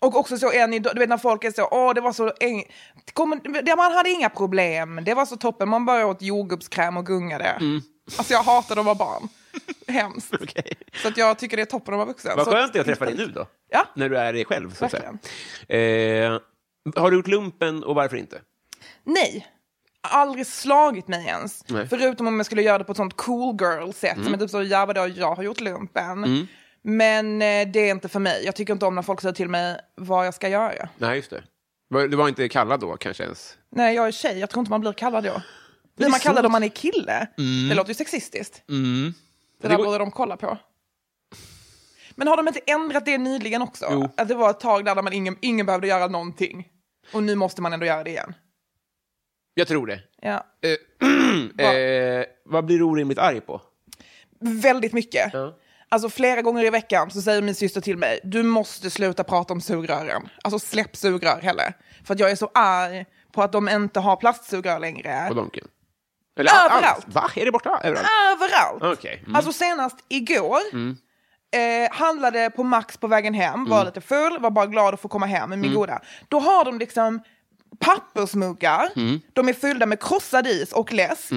[SPEAKER 3] Och också så än idag, du vet när folk är så, åh det var så, eng- det kom, det, man hade inga problem, det var så toppen, man bara åt jordgubbskräm och gungade. Alltså jag hatade att vara barn. Hemskt.
[SPEAKER 2] Mm. Okej.
[SPEAKER 3] Så att jag tycker det är toppen att vara vuxen.
[SPEAKER 2] Vad
[SPEAKER 3] så
[SPEAKER 2] skönt det är att träffa dig nu då,
[SPEAKER 3] Ja.
[SPEAKER 2] när du är dig själv. Så att säga.
[SPEAKER 3] Verkligen.
[SPEAKER 2] Eh, har du gjort lumpen och varför inte?
[SPEAKER 3] Nej. Aldrig slagit mig ens.
[SPEAKER 2] Nej. Mm.
[SPEAKER 3] Förutom om jag skulle göra det på ett sånt cool girl-sätt. Som är typ så, ja vadå, jag har gjort lumpen. Men eh, det är inte för mig. Jag tycker inte om när folk säger till mig vad jag ska göra.
[SPEAKER 2] Nej, just det. Var- Du var inte kallad då kanske ens?
[SPEAKER 3] Nej, jag är tjej. Jag tror inte man blir kallad då.
[SPEAKER 2] är Mm.
[SPEAKER 3] Blir man kallad
[SPEAKER 2] sant.
[SPEAKER 3] om man är kille? Det låter ju sexistiskt. Det där
[SPEAKER 2] Mm. går-
[SPEAKER 3] borde de kolla på. Men har de inte ändrat det nyligen också?
[SPEAKER 2] Jo.
[SPEAKER 3] Att det var ett tag där man ingen, ingen behövde göra någonting. Och nu måste man ändå göra det igen.
[SPEAKER 2] Jag tror det.
[SPEAKER 3] Ja.
[SPEAKER 2] Eh, eh, vad blir du orimligt arg på?
[SPEAKER 3] Väldigt mycket.
[SPEAKER 2] Ja.
[SPEAKER 3] Alltså flera gånger i veckan så säger min syster till mig, du måste sluta prata om sugrören. Alltså släpp sugrör heller. För att jag är så arg på att de inte har plastsugrör längre.
[SPEAKER 2] På Donken? Eller
[SPEAKER 3] Överallt.
[SPEAKER 2] allt? Va? Är det borta? Överallt?
[SPEAKER 3] Överallt.
[SPEAKER 2] Okej. Mm.
[SPEAKER 3] Alltså senast igår eh, handlade på Max på vägen hem,
[SPEAKER 2] Mm.
[SPEAKER 3] var lite full, var bara glad att få komma hem med min goda. Då har de liksom pappersmuggar,
[SPEAKER 2] Mm.
[SPEAKER 3] de är fyllda med krossad is och läsk.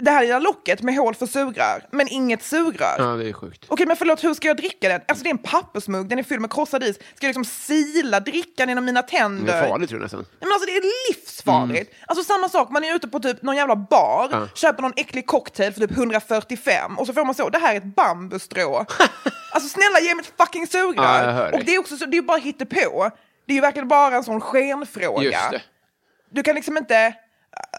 [SPEAKER 3] Det här lilla locket med hål för sugrör, men inget sugrör.
[SPEAKER 2] Ja, det är sjukt.
[SPEAKER 3] Okej, men förlåt, hur ska jag dricka den? Alltså det är en pappersmugg, den är fylld med krossad is. Ska jag liksom sila drickan genom mina tänder?
[SPEAKER 2] Det är farligt tror jag nästan.
[SPEAKER 3] Nej, men alltså det är livsfarligt.
[SPEAKER 2] Mm.
[SPEAKER 3] Alltså samma sak, man är ute på typ någon jävla bar, köper någon äcklig cocktail för typ 145 och så får man så, det här är ett bambustrå. alltså snälla ge mig ett fucking sugrör.
[SPEAKER 2] Ja, jag hör dig.
[SPEAKER 3] och det är också så, det är ju bara hittepå. Det är ju verkligen bara en sån skenfråga.
[SPEAKER 2] Just det.
[SPEAKER 3] Du kan liksom inte,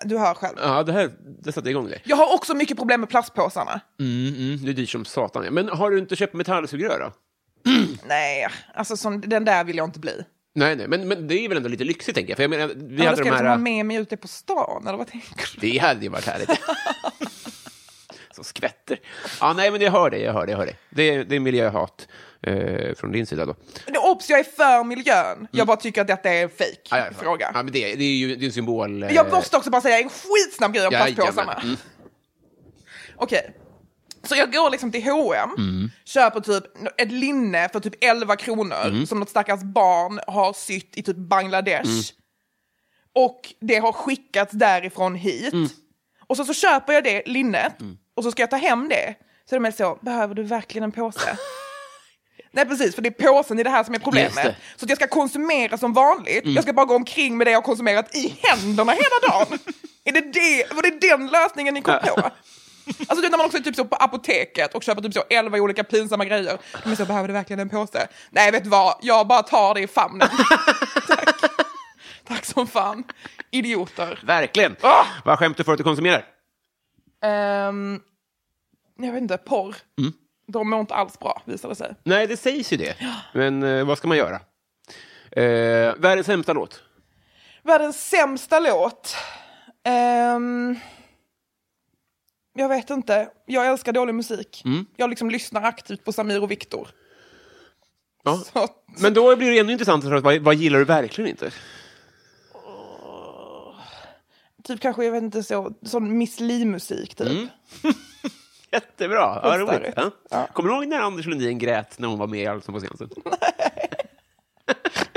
[SPEAKER 3] du hör själv.
[SPEAKER 2] Ja, det här det satte igång dig.
[SPEAKER 3] Jag har också mycket problem med plastpåsarna.
[SPEAKER 2] Mm, mm, det är dyrt som satan. ja. Men har du inte köpt metallsugrör då?
[SPEAKER 3] Nej, alltså sån, den där vill jag inte bli.
[SPEAKER 2] Nej, nej, men, men det är väl ändå lite lyxigt tänker jag. För jag menar, vi
[SPEAKER 3] Vi
[SPEAKER 2] hade
[SPEAKER 3] ska
[SPEAKER 2] de
[SPEAKER 3] jag
[SPEAKER 2] här...
[SPEAKER 3] liksom ha med mig ute på stan, eller vad tänker du?
[SPEAKER 2] Det hade ju varit härligt. Som skvätter. Ja, nej, men jag hör dig, jag hör dig, jag hör dig. Det, är- det är miljöhat eh, från din sida då.
[SPEAKER 3] Och Obs, jag är för miljön. Jag bara tycker att detta är en fake
[SPEAKER 2] Mm. Ja, ja,
[SPEAKER 3] fråga.
[SPEAKER 2] Ja, men det, det är ju det är en symbol. eh,
[SPEAKER 3] Jag måste också bara säga en skitsnabb grej om
[SPEAKER 2] jajamän.
[SPEAKER 3] plastpåsarna.
[SPEAKER 2] Mm.
[SPEAKER 3] Okej. Så jag går liksom till H&M,
[SPEAKER 2] Mm.
[SPEAKER 3] köper typ ett linne för typ 11 kronor
[SPEAKER 2] Mm.
[SPEAKER 3] som något stackars barn har sytt i typ Bangladesh.
[SPEAKER 2] Mm.
[SPEAKER 3] Och det har skickats därifrån hit.
[SPEAKER 2] Mm.
[SPEAKER 3] Och så, så köper jag det linnet och så ska jag ta hem det. Så de är så, behöver du verkligen en påse? Nej precis, för det är påsen i det här som är
[SPEAKER 2] Just det. Mm.
[SPEAKER 3] problemet. Så att jag ska konsumera som vanligt. Jag ska bara gå omkring med det jag har konsumerat i händerna hela dagen. är det det, var det den lösningen ni kom på? Alltså du, när man också är typ så på apoteket och köper typ så elva olika pinsamma grejer. Men så behöver du verkligen en påse. Nej, vet du vad? Jag bara tar det i famnen. Tack. Tack som fan. Idioter.
[SPEAKER 2] Verkligen.
[SPEAKER 3] Ah!
[SPEAKER 2] Vad skämt du för att du konsumerar?
[SPEAKER 3] Ehm, jag vet inte, porr.
[SPEAKER 2] Mm.
[SPEAKER 3] De mår inte alls bra, visar det sig.
[SPEAKER 2] Nej, det sägs ju det. Men eh, vad ska man göra? Eh, världens sämsta låt.
[SPEAKER 3] Världens sämsta låt. Ehm, jag vet inte. Jag älskar dålig musik.
[SPEAKER 2] Mm.
[SPEAKER 3] Jag liksom lyssnar aktivt på Samir och Viktor.
[SPEAKER 2] Ja.
[SPEAKER 3] Så att-
[SPEAKER 2] Men då blir det ännu intressantare. Vad, vad gillar du verkligen inte?
[SPEAKER 3] Typ kanske, jag vet inte, så, sån Miss Li-musik typ.
[SPEAKER 2] Mm. Jättebra. Ja, roligt.
[SPEAKER 3] Konstigt.
[SPEAKER 2] Ja.
[SPEAKER 3] Ja.
[SPEAKER 2] Kommer du ihåg när Anders Lundin grät när hon var med i Allsång på Skansen?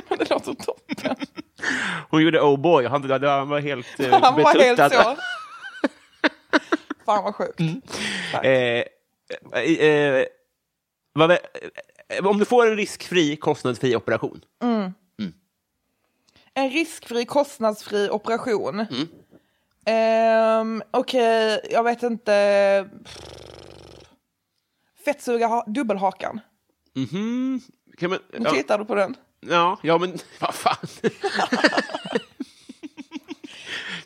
[SPEAKER 3] Det låter toppen.
[SPEAKER 2] Hon gjorde Oh boy. Han, det- det- han var helt eh,
[SPEAKER 3] Han var helt
[SPEAKER 2] betuttad.
[SPEAKER 3] så. Fan vad sjukt.
[SPEAKER 2] Eh, eh, eh, vad, vä- eh, om du får en riskfri, kostnadsfri operation.
[SPEAKER 3] En riskfri, kostnadsfri operation.
[SPEAKER 2] Mm.
[SPEAKER 3] Ehm, Okej, jag vet inte. Fettsuga ha- dubbelhakan.
[SPEAKER 2] Mhm. Kan man, ja,
[SPEAKER 3] Tittar du på den?
[SPEAKER 2] ja, ja, men vad fan.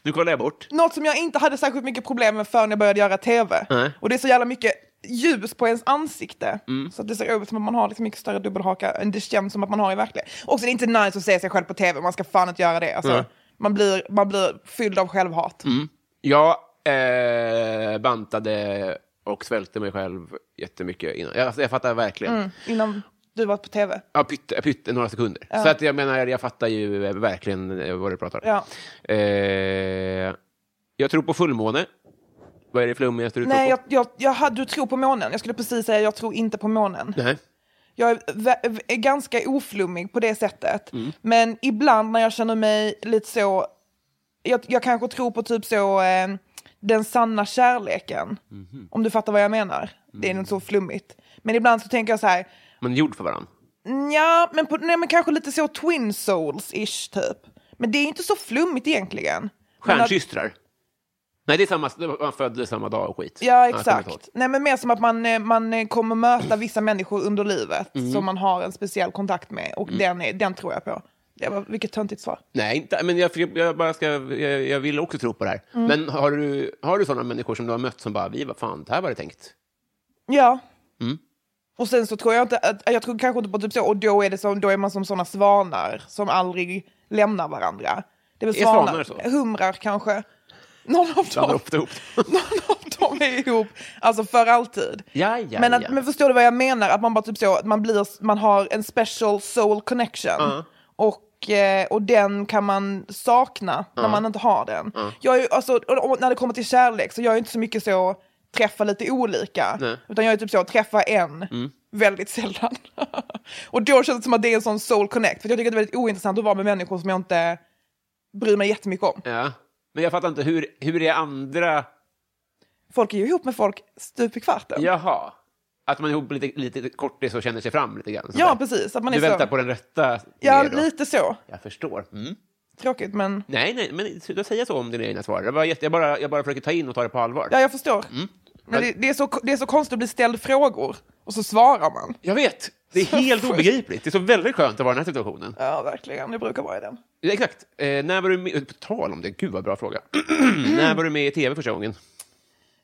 [SPEAKER 2] nu kollar jag bort.
[SPEAKER 3] Något som jag inte hade särskilt mycket problem med förrän jag började göra tv.
[SPEAKER 2] Nej. Mm.
[SPEAKER 3] Och det är så jävla mycket ljus på ens ansikte. Så att det ser ut som att man har liksom mycket större dubbelhaka än det känns som att man har i verkligheten. Också det är inte nice att se sig själv på tv, man ska fan inte göra det. Alltså,
[SPEAKER 2] Nej. Mm.
[SPEAKER 3] man, blir, man blir fylld av självhat.
[SPEAKER 2] Jag eh, bantade och svälte mig själv jättemycket innan. Jag, alltså, jag fattar verkligen.
[SPEAKER 3] Mm. Innan du var på tv.
[SPEAKER 2] Ja, pytte, pytte, några sekunder. Så att jag menar, jag fattar ju eh, verkligen eh, vad du pratar om. Eh, jag tror på fullmåne. Vad är det flummigaste du
[SPEAKER 3] Nej,
[SPEAKER 2] tror
[SPEAKER 3] jag,
[SPEAKER 2] på?
[SPEAKER 3] jag, jag hade, du tror på månen. Jag skulle precis säga jag tror inte på månen.
[SPEAKER 2] Nej.
[SPEAKER 3] Jag är, vä- v- är ganska oflummig på det sättet.
[SPEAKER 2] Mm.
[SPEAKER 3] Men ibland när jag känner mig lite så... Jag, jag kanske tror på typ så eh, den sanna kärleken.
[SPEAKER 2] Mhm.
[SPEAKER 3] Om du fattar vad jag menar. Det är
[SPEAKER 2] Mm.
[SPEAKER 3] nog så flummigt. Men ibland så tänker jag så här,
[SPEAKER 2] Man är gjord för varandra.
[SPEAKER 3] ja, men, på, nej, men kanske lite så twin souls-ish typ. Men det är inte så flummigt egentligen. Men att-
[SPEAKER 2] Stjärnsystrar. Nej, det är samma. Man föddes samma dag och skit.
[SPEAKER 3] Ja,
[SPEAKER 2] jag kommer inte ihåg.
[SPEAKER 3] exakt. Nej, men mer som att man, eh, man eh, kommer möta vissa människor under livet som man har en speciell kontakt med och den, är, den tror jag på. Det var, vilket töntigt svar.
[SPEAKER 2] Nej, inte, men jag, jag, bara ska, jag, jag vill också tro på det här.
[SPEAKER 3] Mm.
[SPEAKER 2] Men har du, har du sådana människor som du har mött som bara, vi vad fan, det här var det tänkt.
[SPEAKER 3] Ja. Och sen så tror jag inte, att, jag tror kanske inte på typ så, och då är, det som, då är man som sådana svanar som aldrig lämnar varandra. Det är väl
[SPEAKER 2] Är
[SPEAKER 3] svanar,
[SPEAKER 2] svanar så?
[SPEAKER 3] humrar kanske. Någon av
[SPEAKER 2] Blandar
[SPEAKER 3] dem.
[SPEAKER 2] ofta ihop
[SPEAKER 3] Någon av dem är ihop, alltså för alltid.
[SPEAKER 2] Ja, ja,
[SPEAKER 3] men, att,
[SPEAKER 2] ja.
[SPEAKER 3] men förstår du vad jag menar? Att man bara typ så, att man, blir, man har en special soul connection. Och, eh, och den kan man sakna när man inte har den. Jag är, ju- alltså, och, och, när det kommer till kärlek så jag är inte så mycket så träffa lite olika. Utan jag är typ så, träffa en
[SPEAKER 2] Mm.
[SPEAKER 3] väldigt sällan. och då känns det som att det är en sån soul connect. För jag tycker att det är väldigt ointressant att vara med människor som jag inte bryr mig jättemycket om.
[SPEAKER 2] Ja. Men jag fattar inte, hur, hur är andra...
[SPEAKER 3] Folk är ju ihop med folk stup i kvarten.
[SPEAKER 2] Jaha. Att man är ihop lite, lite kortis och känner sig fram lite grann. sånt
[SPEAKER 3] Ja,
[SPEAKER 2] där.
[SPEAKER 3] precis. Att man
[SPEAKER 2] Du
[SPEAKER 3] är så...
[SPEAKER 2] väntar på den rätta?
[SPEAKER 3] Ja,
[SPEAKER 2] mer då.
[SPEAKER 3] lite så.
[SPEAKER 2] Jag förstår. Mm.
[SPEAKER 3] Tråkigt, men
[SPEAKER 2] Nej, nej, men sluta säga så om dina egna svar. Jag bara, jätte- jag, bara, jag bara försöker ta in och ta det på allvar.
[SPEAKER 3] ja, jag förstår.
[SPEAKER 2] Mm.
[SPEAKER 3] Men det, det, är så, det är så konstigt att bli ställd frågor och så svarar man.
[SPEAKER 2] Jag vet! Det är
[SPEAKER 3] Så
[SPEAKER 2] helt
[SPEAKER 3] sjukt.
[SPEAKER 2] obegripligt. Det är så väldigt skönt att vara i den här situationen.
[SPEAKER 3] Ja, verkligen. Det brukar vara i den.
[SPEAKER 2] Ja, Exakt. Eh, när var du med... På tal om det, gud vad bra fråga. när var du med i tv första gången?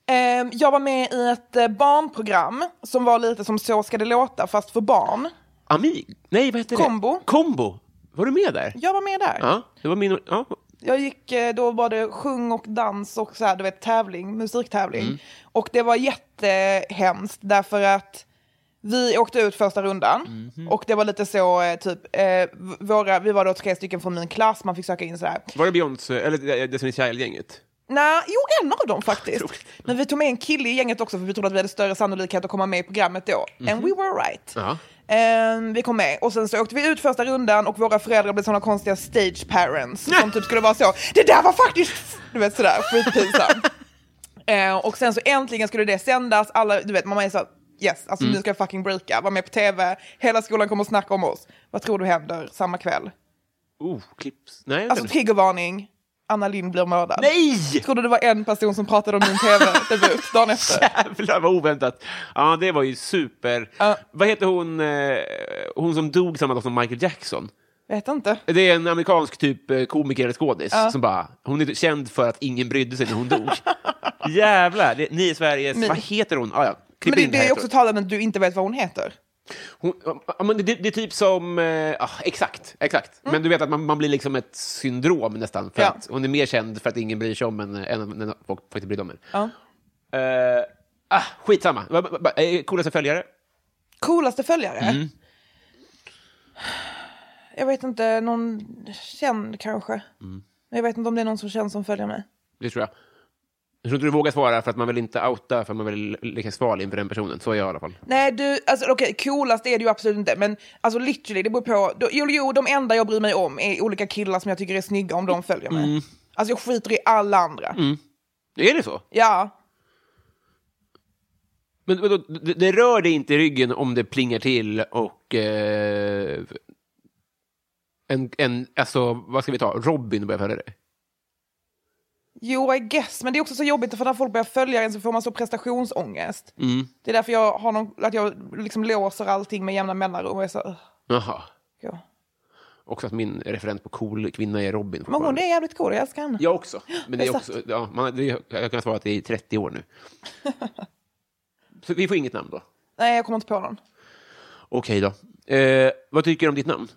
[SPEAKER 3] Ehm, Jag var med i ett eh, barnprogram som var lite som Så ska det låta, fast för barn.
[SPEAKER 2] Amig? Nej, vad heter
[SPEAKER 3] Kombo.
[SPEAKER 2] det? Kombo. Var du med där?
[SPEAKER 3] Jag var med där.
[SPEAKER 2] Ja, det var min... Ja.
[SPEAKER 3] Jag gick, eh, då var det sjung och dans och så här, du vet, tävling, musiktävling. Och det var jättehemskt därför att Vi åkte ut första rundan och det var lite så eh, typ, eh, v- våra, vi var då tre stycken från min klass, man fick söka in sådär.
[SPEAKER 2] Var det Beyoncé, eller eh, Destiny's Child-gänget?
[SPEAKER 3] Nej, jo en av dem faktiskt. Men vi tog med en kille i gänget också för vi trodde att vi hade större sannolikhet att komma med i programmet då. And we were right.
[SPEAKER 2] Ja.
[SPEAKER 3] Ehm, vi kom med och sen så åkte vi ut första rundan och våra föräldrar blev sådana konstiga stage parents som typ skulle vara så, det där var faktiskt, du vet sådär, skitpinsamt. Eh, och sen så äntligen skulle det sändas, alla, du vet, mamma är så yes, alltså
[SPEAKER 2] Mm.
[SPEAKER 3] nu ska jag fucking breaka, vara med på tv, hela skolan kommer att snacka om oss. Vad tror du händer samma kväll?
[SPEAKER 2] Oh, clips. Nej,
[SPEAKER 3] Alltså
[SPEAKER 2] vänta.
[SPEAKER 3] triggervarning, Anna Lind blir mördad.
[SPEAKER 2] Nej!
[SPEAKER 3] Trodde det var en person som pratade om min tv-debut dagen efter.
[SPEAKER 2] Jävlar vad oväntat. Ja, det var ju super.
[SPEAKER 3] Ja.
[SPEAKER 2] Vad heter hon, eh, hon som dog samma dag som Michael Jackson?
[SPEAKER 3] Vet inte.
[SPEAKER 2] Det är en amerikansk typ eh, komiker eller skådis som bara, hon är känd för att ingen brydde sig när hon dog. Jävlar, det, ni i Sveriges,
[SPEAKER 3] Men-
[SPEAKER 2] vad heter hon? Ah, ja.
[SPEAKER 3] Men
[SPEAKER 2] klipp
[SPEAKER 3] det,
[SPEAKER 2] in här
[SPEAKER 3] det är
[SPEAKER 2] efteråt.
[SPEAKER 3] också talande att du inte vet vad hon heter.
[SPEAKER 2] Hon, ja, men det, det är typ som... eh, ah, exakt. exakt. Men du vet att man, man blir liksom ett syndrom nästan. För
[SPEAKER 3] Mm. Ja.
[SPEAKER 2] att hon är mer känd för att ingen bryr sig om henne än än att folk faktiskt bryr sig om henne.
[SPEAKER 3] Ja.
[SPEAKER 2] Eh, ah, skitsamma. Va- va- va- eh, Coolaste följare?
[SPEAKER 3] Coolaste följare? Jag vet inte, någon känd kanske. Men Jag vet inte om det är någon som känns som följer mig.
[SPEAKER 2] Det tror jag. Jag tror inte du vågar svara för att man vill inte outa för att man vill leka sval inför den personen. Så är jag i alla fall.
[SPEAKER 3] Nej, du, alltså okej, coolast är det ju absolut inte, men alltså literally, det beror på. Då, jo, jo, de enda jag bryr mig om är olika killar som jag tycker är snygga om de följer mig. Alltså jag skiter i alla andra.
[SPEAKER 2] Är det så?
[SPEAKER 3] Ja,
[SPEAKER 2] Men vadå, det, det rör dig inte i ryggen om det plingar till och... Eh, en, en, alltså, vad ska vi ta? Robin börjar följa dig.
[SPEAKER 3] Jo, I guess. Men det är också så jobbigt för när folk börjar följa en så får man så prestationsångest. Det är därför jag, har någon, att jag liksom låser allting med jämna mellanrum. Och är så, "Ugh,
[SPEAKER 2] Jaha.
[SPEAKER 3] ja.
[SPEAKER 2] Också att min referent på cool kvinna är Robin.
[SPEAKER 3] Men hon
[SPEAKER 2] fortfarande.
[SPEAKER 3] är jävligt cool, jag älskar henne.
[SPEAKER 2] Jag också. Men det är
[SPEAKER 3] Jag
[SPEAKER 2] också ja, man, det, jag har kunnat svara att det är i 30 år nu. Så vi får inget namn då.
[SPEAKER 3] Nej, jag kommer inte på någon.
[SPEAKER 2] Okej då. Eh, vad tycker du om ditt namn?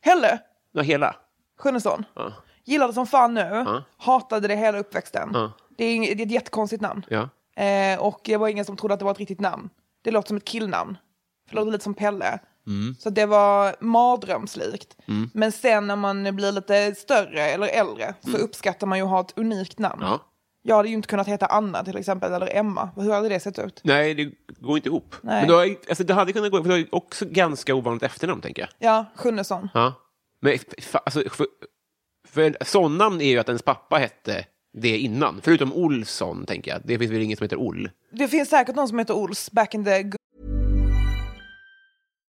[SPEAKER 3] Helle
[SPEAKER 2] Ja, hela?
[SPEAKER 3] Schunnesson.
[SPEAKER 2] Ja.
[SPEAKER 3] Gillade som fan nu.
[SPEAKER 2] Ja.
[SPEAKER 3] Hatade det hela uppväxten.
[SPEAKER 2] Ja.
[SPEAKER 3] Det, är, ing- det är ett jättekonstigt namn.
[SPEAKER 2] ja.
[SPEAKER 3] Eh, och det var ingen som trodde att det var ett riktigt namn. Det låter som ett killnamn. För det låter lite som Pelle. Så det var mardrömslikt. Men sen när man blir lite större eller äldre så uppskattar man ju att ha ett unikt namn.
[SPEAKER 2] Mm. ja.
[SPEAKER 3] Jag hade ju inte kunnat heta Anna till exempel, eller Emma. Hur hade det sett ut?
[SPEAKER 2] Nej, det går inte ihop.
[SPEAKER 3] Nej.
[SPEAKER 2] Men du har, ju- alltså, det hade kunnat gå för du har ju också ganska ovanligt efternamn, tänker jag.
[SPEAKER 3] Ja, Schunnesson.
[SPEAKER 2] Ja. Men fa, alltså, för, för sådannamn är ju att ens pappa hette det innan. Förutom Olsson, tänker jag. Det finns väl ingen som heter Oll?
[SPEAKER 3] Det finns säkert någon som heter Ols back in the good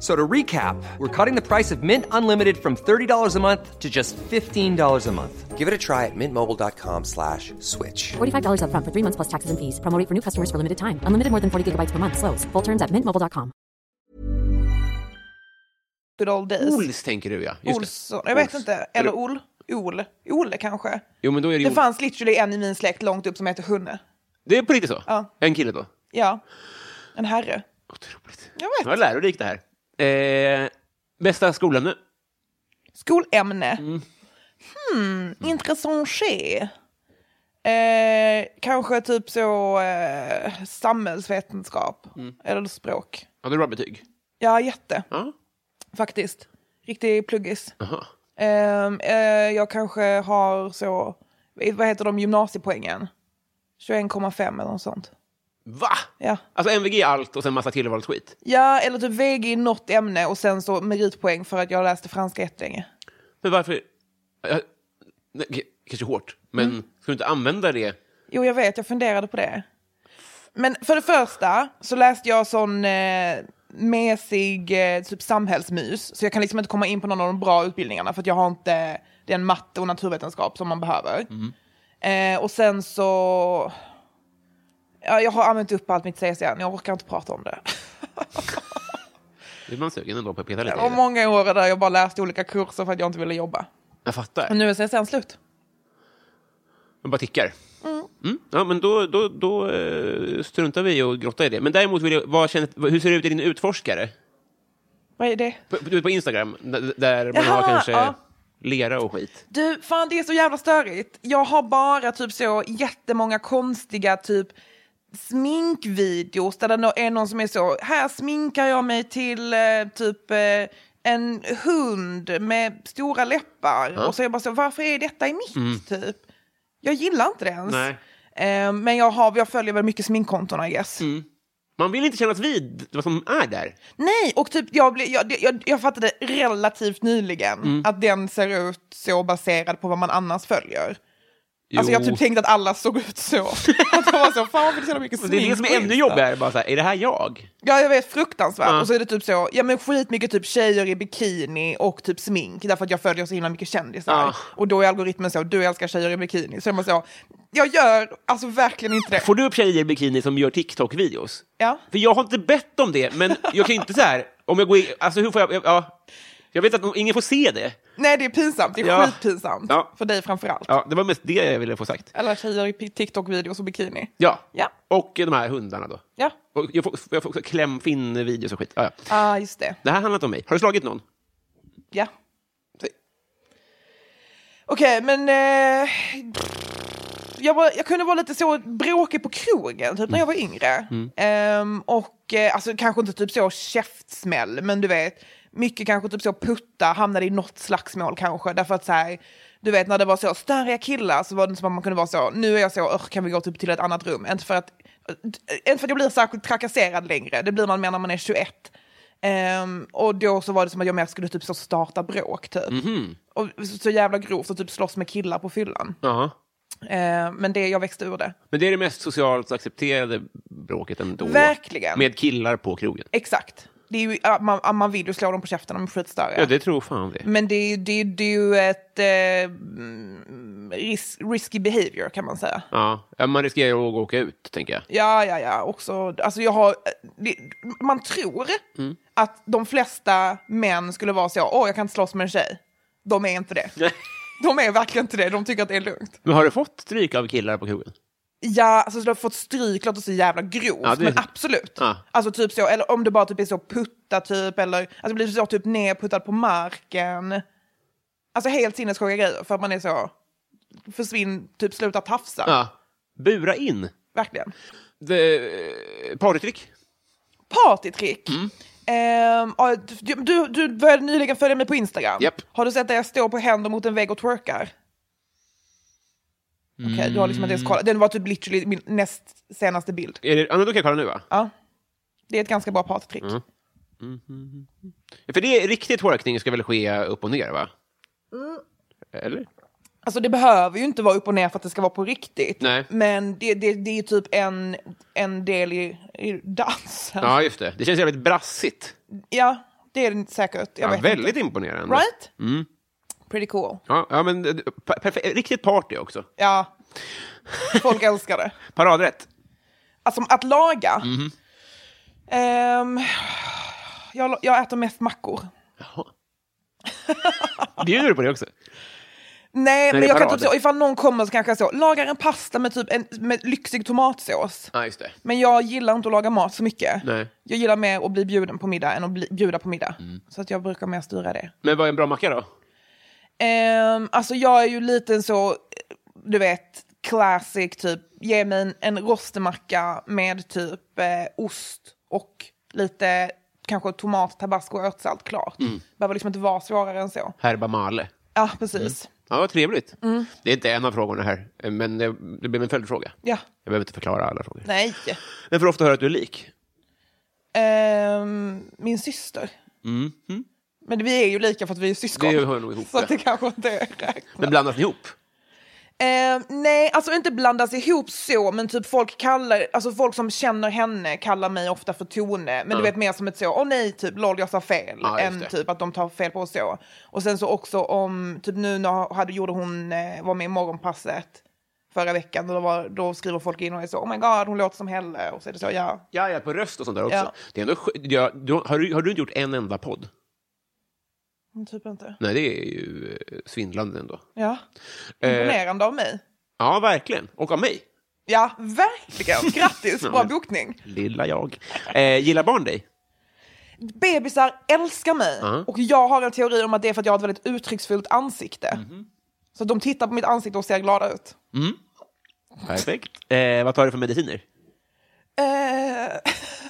[SPEAKER 4] So to recap, we're cutting the price of Mint Unlimited from $30 a month to just $15 a month. Give it a try at mintmobile.com slash switch.
[SPEAKER 1] $45 upfront for three months plus taxes and fees. Promo rate for new customers for limited time. Unlimited more than 40 gigabytes per month. Slows. Full terms at mintmobile.com.
[SPEAKER 3] old days.
[SPEAKER 2] Ols, tänker du, ja. Just det.
[SPEAKER 3] Olsson, jag vet
[SPEAKER 2] Ols.
[SPEAKER 3] inte. Eller Ol. Ol. Ole kanske.
[SPEAKER 2] Jo, men då är det,
[SPEAKER 3] Det
[SPEAKER 2] ju...
[SPEAKER 3] fanns literally en i min släkt långt upp som heter Hunne.
[SPEAKER 2] det är på riktigt så?
[SPEAKER 3] Ja.
[SPEAKER 2] En kille då?
[SPEAKER 3] Ja. En herre.
[SPEAKER 2] Otroligt.
[SPEAKER 3] Jag
[SPEAKER 2] Det var
[SPEAKER 3] vet.
[SPEAKER 2] lärorikt det här. Eh, bästa skolämne? Mm.
[SPEAKER 3] Skolämne. Hmm, intressant ske. Eh, kanske typ så eh, samhällsvetenskap
[SPEAKER 2] Mm.
[SPEAKER 3] eller språk.
[SPEAKER 2] Hade du bra betyg?
[SPEAKER 3] Ja, jätte
[SPEAKER 2] Ja.
[SPEAKER 3] faktiskt. Riktig pluggis.
[SPEAKER 2] Aha.
[SPEAKER 3] Ehm, eh, jag kanske har så, vad heter de gymnasiepoängen? 21,5 eller något sånt.
[SPEAKER 2] Va?
[SPEAKER 3] Ja.
[SPEAKER 2] Alltså MVG allt och sen massa tillvalsskit.
[SPEAKER 3] ja, eller typ VG i något ämne och sen så meritpoäng för att jag läste franska jättelänge.
[SPEAKER 2] Men varför? Ja, nej, k- kanske hårt, men
[SPEAKER 3] Mm.
[SPEAKER 2] ska du inte använda det?
[SPEAKER 3] Jo, jag vet, jag funderade på det. Men för det första så läste jag sån eh, mesig eh, typ samhällsmys, så jag kan liksom inte komma in på någon av de bra utbildningarna för att jag har inte den matte och naturvetenskap som man behöver. Eh, och sen så... Ja, jag har använt upp allt mitt CSN, jag orkar inte prata om det.
[SPEAKER 2] Det är man sugen ändå på att peta lite
[SPEAKER 3] Det
[SPEAKER 2] i
[SPEAKER 3] var
[SPEAKER 2] det.
[SPEAKER 3] många år där jag bara läste olika kurser för att jag inte ville jobba.
[SPEAKER 2] Jag fattar.
[SPEAKER 3] Men nu är CSN slut.
[SPEAKER 2] Man bara tickar. Mm. Ja, men då, då, då eh, struntar vi och grottar i det. Men däremot, vill jag, vad känner, vad- hur ser det ut i din utforskare?
[SPEAKER 3] Vad är det?
[SPEAKER 2] På, på, på Instagram, d- där man
[SPEAKER 3] Jaha,
[SPEAKER 2] har kanske
[SPEAKER 3] ja.
[SPEAKER 2] lera och skit.
[SPEAKER 3] Du, fan det är så jävla störigt. Jag har bara typ så jättemånga konstiga typ sminkvideos där det nå- är någon som är så, här sminkar jag mig till eh, typ eh, en hund med stora läppar. Och så är jag bara så, varför är detta i mitt typ? Jag gillar inte det ens.
[SPEAKER 2] Nej.
[SPEAKER 3] Eh, men jag, har, jag följer väl mycket sminkkonton I guess.
[SPEAKER 2] Man vill inte kännas vid vad som är där.
[SPEAKER 3] Nej, och typ jag, blev, jag, det- jag, jag fattade relativt nyligen att den ser ut så baserad på vad man annars följer. Alltså jag
[SPEAKER 2] Jo.
[SPEAKER 3] typ tänkte att alla såg ut så. att jag var så, fan varför är det så jävla mycket smink
[SPEAKER 2] Det är det som
[SPEAKER 3] på
[SPEAKER 2] är ännu
[SPEAKER 3] Insta?"
[SPEAKER 2] jobbigare. Bara så här, är det här jag?
[SPEAKER 3] Ja jag vet, fruktansvärt.
[SPEAKER 2] Ja.
[SPEAKER 3] Och så är det typ så, ja men skitmycket typ tjejer i bikini och typ smink därför att jag följer så himla mycket kändisar.
[SPEAKER 2] Ja.
[SPEAKER 3] Och då är algoritmen så, du älskar tjejer i bikini. Så jag bara så, jag gör alltså verkligen inte det.
[SPEAKER 2] Får du upp tjejer i bikini som gör TikTok-videos?
[SPEAKER 3] Ja.
[SPEAKER 2] För jag har inte bett om det, men jag kan ju inte så här... Om jag går in, alltså hur får jag... Ja, jag vet att ingen får se det.
[SPEAKER 3] Nej det är pinsamt, det är
[SPEAKER 2] Ja.
[SPEAKER 3] skitpinsamt.
[SPEAKER 2] Ja.
[SPEAKER 3] För dig framförallt.
[SPEAKER 2] Ja, det var mest det jag ville få sagt.
[SPEAKER 3] Alla tjejer i TikTok-videos och bikini.
[SPEAKER 2] Ja.
[SPEAKER 3] Ja.
[SPEAKER 2] Och de här hundarna då.
[SPEAKER 3] Ja,
[SPEAKER 2] Och jag får, jag får också klämfinn-videos och skit. Ja, ja.
[SPEAKER 3] ah, just det.
[SPEAKER 2] Det här handlar inte om mig. Har du slagit någon?
[SPEAKER 3] Ja.
[SPEAKER 2] Säg.
[SPEAKER 3] Okej, men... Eh, jag, var, jag kunde vara lite så bråkig på krogen typ, när jag var yngre. Ehm, och eh, alltså, kanske inte typ så käftsmäll, men du vet. Mycket kanske typ så putta, hamnade i något slagsmål kanske. Därför att så här, du vet när det var så större killar så var det inte som att man kunde vara så, nu är jag så, "Ugh, kan vi gå typ till ett annat rum? Inte för att, eh, inte för att jag blir särskilt trakasserad längre, det blir man mer när man är 21. Ehm, och då så var det som att jag mer skulle typ så starta bråk typ. Och så, så jävla grovt och typ slåss med killar på fyllan.
[SPEAKER 2] Ja.
[SPEAKER 3] Ehm, men det, jag växte ur det.
[SPEAKER 2] Men det är det mest socialt accepterade bråket ändå.
[SPEAKER 3] Verkligen.
[SPEAKER 2] Med killar på krogen.
[SPEAKER 3] Exakt. Det är ju, ja, man, ja, man vill ju slå dem på käften om de är skitstöriga.
[SPEAKER 2] Ja, det tror fan det.
[SPEAKER 3] Men det är, ju- det, är, det är ju ett eh, mm, ris, risky behavior kan man säga.
[SPEAKER 2] Ja, Ja, man riskerar att åka ut, tänker jag.
[SPEAKER 3] Ja, ja, ja. Också, alltså jag har, det, man tror
[SPEAKER 2] Mm.
[SPEAKER 3] att de flesta män skulle vara så, åh jag kan inte slåss med en tjej. De är inte det. De är verkligen inte det, de tycker att det är lugnt.
[SPEAKER 2] Men har du fått stryk av killar på krogen?
[SPEAKER 3] Ja, alltså du har fått stryk, låter så jävla grovt,
[SPEAKER 2] Ja, det är
[SPEAKER 3] men
[SPEAKER 2] så-
[SPEAKER 3] absolut.
[SPEAKER 2] Ja.
[SPEAKER 3] Alltså typ så, eller om det bara typ är så putta typ, eller alltså blir så typ nerputtad på marken. Alltså helt sinnessjuka grejer för att man är så, försvinn, typ sluta tafsa.
[SPEAKER 2] Ja. Bura in.
[SPEAKER 3] Verkligen.
[SPEAKER 2] Det- eh, Partytrick?
[SPEAKER 3] Partytrick.
[SPEAKER 2] Mm.
[SPEAKER 3] Ehm, ja, du, du, du började nyligen följa mig på Instagram.
[SPEAKER 2] Japp.
[SPEAKER 3] Har du sett att jag står på händer mot en vägg och twerkar? Okej, du har liksom inte ens
[SPEAKER 2] Mm.
[SPEAKER 3] kollat. Den var typ literally min näst senaste bild.
[SPEAKER 2] Är det, ja, men då kan jag kolla nu, va?
[SPEAKER 3] Ja. Det är ett ganska bra partytrick.
[SPEAKER 2] Mm. För det är riktigt twerkning ska väl ske upp och ner, va?
[SPEAKER 3] Mm.
[SPEAKER 2] Eller?
[SPEAKER 3] Alltså det behöver ju inte vara upp och ner för att det ska vara på riktigt.
[SPEAKER 2] Nej.
[SPEAKER 3] Men det, det, det är ju typ en, en del i, i dansen. Ja.
[SPEAKER 2] Ja, just det. Det känns jävligt brassigt.
[SPEAKER 3] det är det säkert. Jag
[SPEAKER 2] Ja,
[SPEAKER 3] vet
[SPEAKER 2] väldigt Mm. imponerande.
[SPEAKER 3] inte. Right? Pretty cool.
[SPEAKER 2] Ja, ja men eh, per- perfekt. riktigt party också.
[SPEAKER 3] Ja. Folk älskar det.
[SPEAKER 2] Paradrätt.
[SPEAKER 3] Alltså att laga.
[SPEAKER 2] Mm-hmm.
[SPEAKER 3] Ehm, jag, jag äter mest mackor.
[SPEAKER 2] Jaha. Bjuder du på det också?
[SPEAKER 3] Nej,
[SPEAKER 2] det
[SPEAKER 3] men
[SPEAKER 2] är
[SPEAKER 3] jag kan
[SPEAKER 2] parad.
[SPEAKER 3] typ så, ifall någon kommer så kanske jag så, lagar en pasta med typ en med lyxig tomatsås.
[SPEAKER 2] Ja, just det.
[SPEAKER 3] Men jag gillar inte att laga mat så mycket.
[SPEAKER 2] Nej. Mm.
[SPEAKER 3] Jag gillar mer att bli bjuden på middag än att bli, bjuda på middag. Så att jag brukar mer styra det.
[SPEAKER 2] Men vad är en bra macka då?
[SPEAKER 3] Ehm, alltså jag är ju lite så, eh, du vet, classic typ, ge mig en, en rostemacka med typ eh, ost och lite kanske tomat, tabasco och örtsalt klart.
[SPEAKER 2] Mm.
[SPEAKER 3] Behöver liksom inte vara svårare än så.
[SPEAKER 2] Herba Male.
[SPEAKER 3] Ja, precis.
[SPEAKER 2] Ja, vad trevligt.
[SPEAKER 3] Mm.
[SPEAKER 2] Det är inte en av frågorna här, eh, men det, det blev en följdfråga.
[SPEAKER 3] Ja.
[SPEAKER 2] Jag behöver inte förklara alla frågor.
[SPEAKER 3] Nej.
[SPEAKER 2] Men för ofta hör jag att du är lik.
[SPEAKER 3] Ehm, min syster. Men vi är ju lika för att vi är syskon.
[SPEAKER 2] Mm-hmm. Det hör nog ihop,
[SPEAKER 3] Så att
[SPEAKER 2] ja.
[SPEAKER 3] det kanske inte räknas.
[SPEAKER 2] Men blandas ni ihop?
[SPEAKER 3] Ehm, nej, alltså inte blandas ihop så, men typ folk kallar, alltså folk som känner henne kallar mig ofta för Tone. Men du vet mer som ett så, åh nej, typ lol jag sa fel.
[SPEAKER 2] Ja, just
[SPEAKER 3] än
[SPEAKER 2] det.
[SPEAKER 3] typ att de tar fel på oss så. Och sen så också om, typ nu när hade, gjorde hon, eh, var med i Morgonpasset förra veckan. Och då, var, då skriver folk in och är så, oh my god, hon låter som Helle. Och så är det så, ja.
[SPEAKER 2] Ja, ja, på röst och sånt där också.
[SPEAKER 3] Ja.
[SPEAKER 2] Det är ändå, skö- ja, du, har, du, har du inte gjort en enda podd?
[SPEAKER 3] Men Typ inte.
[SPEAKER 2] Nej, det är ju eh, svindlande ändå.
[SPEAKER 3] Ja.
[SPEAKER 2] Eh,
[SPEAKER 3] Imponerande av mig.
[SPEAKER 2] ja, verkligen. Och av mig.
[SPEAKER 3] Ja, verkligen. Grattis, bra bokning.
[SPEAKER 2] Lilla jag. Eh, gillar barn dig?
[SPEAKER 3] Bebisar älskar mig. Och jag har en teori om att det är för att jag har ett väldigt uttrycksfullt ansikte. Så de tittar på mitt ansikte och ser glada ut.
[SPEAKER 2] Perfekt. Eh, vad tar du för mediciner?
[SPEAKER 3] Eh,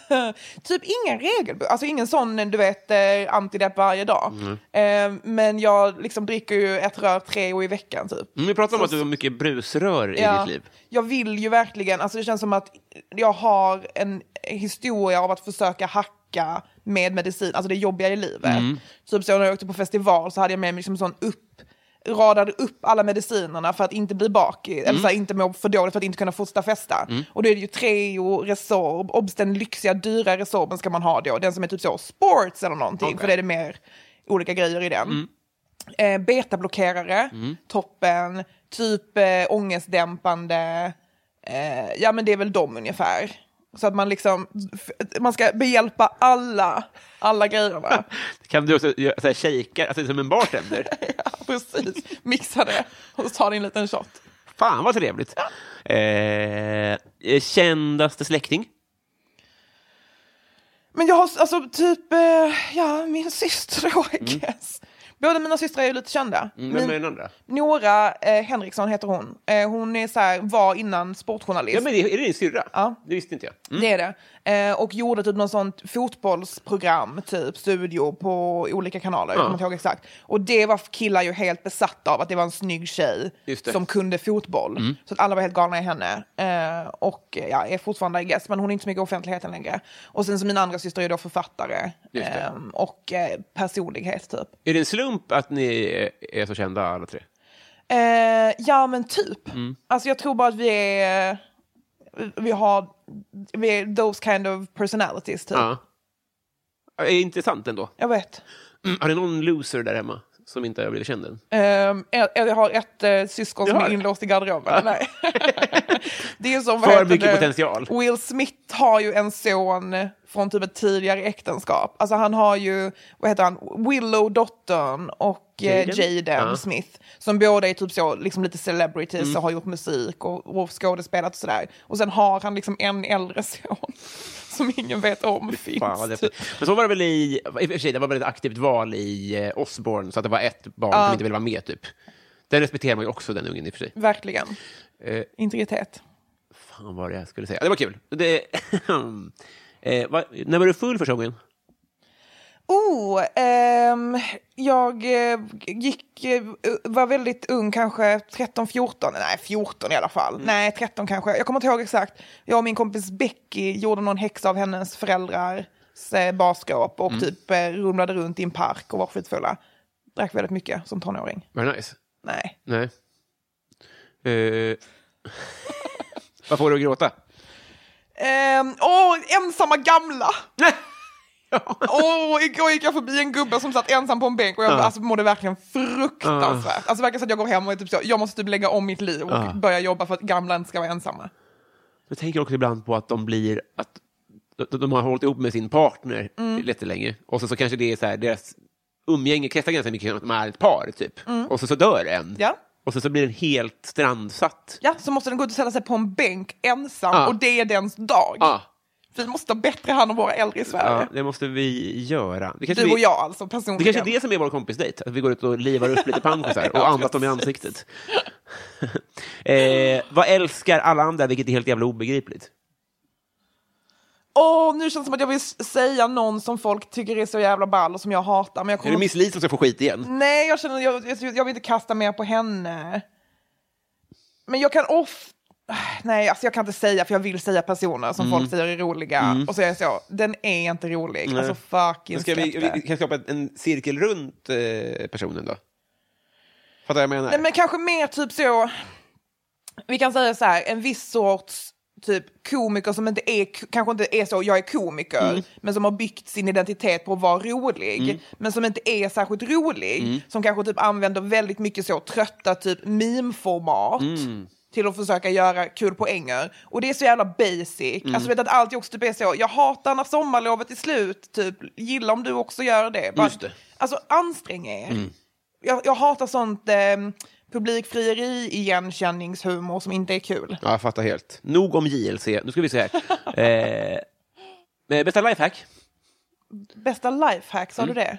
[SPEAKER 3] typ ingen regel, alltså ingen sån du vet eh, antidepp varje dag. Eh, men jag liksom dricker ju ett rör tre år i veckan typ.
[SPEAKER 2] Mm, vi pratade om att du har mycket brusrör i ditt liv.
[SPEAKER 3] Jag vill ju verkligen, alltså det känns som att jag har en historia av att försöka hacka med medicin, alltså det jobbiga i livet.
[SPEAKER 2] Mm.
[SPEAKER 3] Typ så när jag åkte på festival så hade jag med mig liksom sån upp, radade upp alla medicinerna för att inte bli bakis,
[SPEAKER 2] Mm.
[SPEAKER 3] eller så här, inte må för dåligt för att inte kunna fortsätta festa. Och då är det ju Treo, Resorb, obs den lyxiga dyra Resorben ska man ha då, den som är typ så sports eller någonting, för det är det mer olika grejer i
[SPEAKER 2] Mm.
[SPEAKER 3] den eh, betablockerare, toppen, typ eh, ångestdämpande. Eh, ja, men det är väl de ungefär. Så att man liksom, f- man ska behjälpa alla, alla grejerna.
[SPEAKER 2] Kan du också göra så här shakar, alltså som en bartender?
[SPEAKER 3] ja, precis, mixa det och så tar det en liten shot.
[SPEAKER 2] Fan vad trevligt. Eh, kändaste släkting?
[SPEAKER 3] Men jag har alltså typ, eh, ja, min syster då, I guess. Båda mina systrar är ju lite kända.
[SPEAKER 2] Mm. Vem är
[SPEAKER 3] Min,
[SPEAKER 2] den andra?
[SPEAKER 3] Nora eh, Henriksson heter hon. Eh, hon är så här, var innan sportjournalist.
[SPEAKER 2] Ja, men är är det din syrra?
[SPEAKER 3] Ja.
[SPEAKER 2] Det visste inte jag.
[SPEAKER 3] Det är det. Eh, och gjorde typ någon sånt fotbollsprogram, typ studio på olika kanaler. Jag kommer inte ihåg exakt. Och det var killar ju helt besatta av att det var en snygg tjej
[SPEAKER 2] Just det. Mm.
[SPEAKER 3] som kunde fotboll. Så att alla var helt galna i henne. Eh, och eh, ja, är fortfarande I guess, men hon är inte så mycket i offentligheten längre. Och sen så min andra syster är då författare.
[SPEAKER 2] Just det.
[SPEAKER 3] ehm, och eh, personlighet typ.
[SPEAKER 2] Är det en slump att ni eh, är så kända alla tre?
[SPEAKER 3] Eh, ja men typ.
[SPEAKER 2] Mm.
[SPEAKER 3] Alltså jag tror bara att vi är... Vi har vi är those kind of personalities typ.
[SPEAKER 2] Ja. Ja, det är intressant ändå.
[SPEAKER 3] Jag vet.
[SPEAKER 2] Mm. Har du någon loser där hemma som inte har blivit känd än?
[SPEAKER 3] Ehm, jag, jag har ett eh, syskon som
[SPEAKER 2] har
[SPEAKER 3] är
[SPEAKER 2] det?
[SPEAKER 3] inlåst i garderoben. Nej. det är som, vad
[SPEAKER 2] För
[SPEAKER 3] heter
[SPEAKER 2] mycket
[SPEAKER 3] det?
[SPEAKER 2] potential.
[SPEAKER 3] Will Smith har ju en son från typ ett tidigare äktenskap. Alltså han har ju, vad heter han, Willow dottern och eh,
[SPEAKER 2] Jaden?
[SPEAKER 3] Jaden
[SPEAKER 2] Ja. Mm.
[SPEAKER 3] Smith. Som båda är typ så, liksom lite celebrities och har gjort musik och, och skådespelat och sådär. Och sen har han liksom en äldre son som ingen vet om finns.
[SPEAKER 2] Fan, vad häftigt. Men så var det väl i, i och för sig, det var väl ett aktivt val i eh, Osborne, så att det var ett barn som inte ville vara med, typ. Den respekterar man ju också, den ungen i och för sig.
[SPEAKER 3] Verkligen.
[SPEAKER 2] Eh.
[SPEAKER 3] Integritet.
[SPEAKER 2] Fan vad det jag skulle säga. Det var kul. Det, eh, vad, när var du full första gången?
[SPEAKER 3] Oh, ehm, jag eh, gick, eh, var väldigt ung, kanske 13, 14, nej 14 i alla fall. Nej, 13 kanske. Jag kommer inte ihåg exakt. Jag och min kompis Becky gjorde någon häxa av hennes föräldrars eh, barskåp och typ eh, rumlade runt i en park och var skitfulla. Drack väldigt mycket som tonåring.
[SPEAKER 2] Var det nice?
[SPEAKER 3] Nej.
[SPEAKER 2] Nej. Eh, vad får du att gråta?
[SPEAKER 3] Ehm, Åh, ensamma gamla! Åh, igår gick jag förbi en gubbe som satt ensam på en bänk och jag alltså, mådde verkligen fruktansvärt. Alltså det verkar som att jag går hem och är typ så, jag måste typ lägga om mitt liv och börja jobba för att gamla inte ska vara ensamma.
[SPEAKER 2] Jag tänker också ibland på att de blir... Att de, de har hållit ihop med sin partner
[SPEAKER 3] Mm.
[SPEAKER 2] lite länge. Och så, så kanske det är så här, deras umgänge kretsar ganska mycket kring att de är ett par, typ. Och så, så dör en.
[SPEAKER 3] Mm. Ja.
[SPEAKER 2] Och så, så blir den helt strandsatt.
[SPEAKER 3] Ja, så måste den gå ut och sätta sig på en bänk ensam
[SPEAKER 2] Ja.
[SPEAKER 3] och det är dens dag.
[SPEAKER 2] Ja.
[SPEAKER 3] Vi måste ta bättre hand om våra äldre i
[SPEAKER 2] Ja,
[SPEAKER 3] Sverige.
[SPEAKER 2] det måste vi göra. Det kanske,
[SPEAKER 3] du och
[SPEAKER 2] vi,
[SPEAKER 3] jag alltså
[SPEAKER 2] det,
[SPEAKER 3] personligen.
[SPEAKER 2] kanske är det som är vår kompisdejt, att vi går ut och livar upp lite pampisar och andas dem i ansiktet. eh, vad älskar alla andra, vilket är helt jävla obegripligt?
[SPEAKER 3] Åh, nu känns det som att jag vill s- säga någon som folk tycker är så jävla ball och som jag hatar. Men jag
[SPEAKER 2] Är
[SPEAKER 3] kommer
[SPEAKER 2] det Miss Li som ska få skit igen?
[SPEAKER 3] Nej, jag känner jag, jag, jag vill inte kasta mer på henne. Men jag kan off... Nej, alltså jag kan inte säga, för jag vill säga personer som
[SPEAKER 2] Mm.
[SPEAKER 3] folk säger är roliga. Och så är jag så, den är inte rolig. Alltså fucking
[SPEAKER 2] Ska vi,
[SPEAKER 3] släpp det.
[SPEAKER 2] vi kan skapa en cirkel runt eh, personen då? Fattar vad jag menar?
[SPEAKER 3] Nej, men kanske mer typ så... Vi kan säga så här, en viss sorts typ komiker som inte är, kanske inte är så, jag är komiker,
[SPEAKER 2] Mm.
[SPEAKER 3] men som har byggt sin identitet på att vara rolig, men som inte är särskilt rolig,
[SPEAKER 2] Mm.
[SPEAKER 3] som kanske typ använder väldigt mycket så trötta typ meme-format
[SPEAKER 2] Mm.
[SPEAKER 3] till att försöka göra kul poänger. Och det är så jävla basic.
[SPEAKER 2] Mm.
[SPEAKER 3] Alltså vet att allt också typ är så, jag hatar när sommarlovet är slut, typ gilla om du också gör det. Bara,
[SPEAKER 2] Just det. Mm.
[SPEAKER 3] Alltså ansträng er jag, jag hatar sånt eh, publikfrieri, igenkänningshumor som inte är kul.
[SPEAKER 2] Ja, jag fattar helt. Nog om JLC. Nu ska vi se här. eh, eh, bästa lifehack?
[SPEAKER 3] Bästa lifehack, sa
[SPEAKER 2] Mm,
[SPEAKER 3] du det?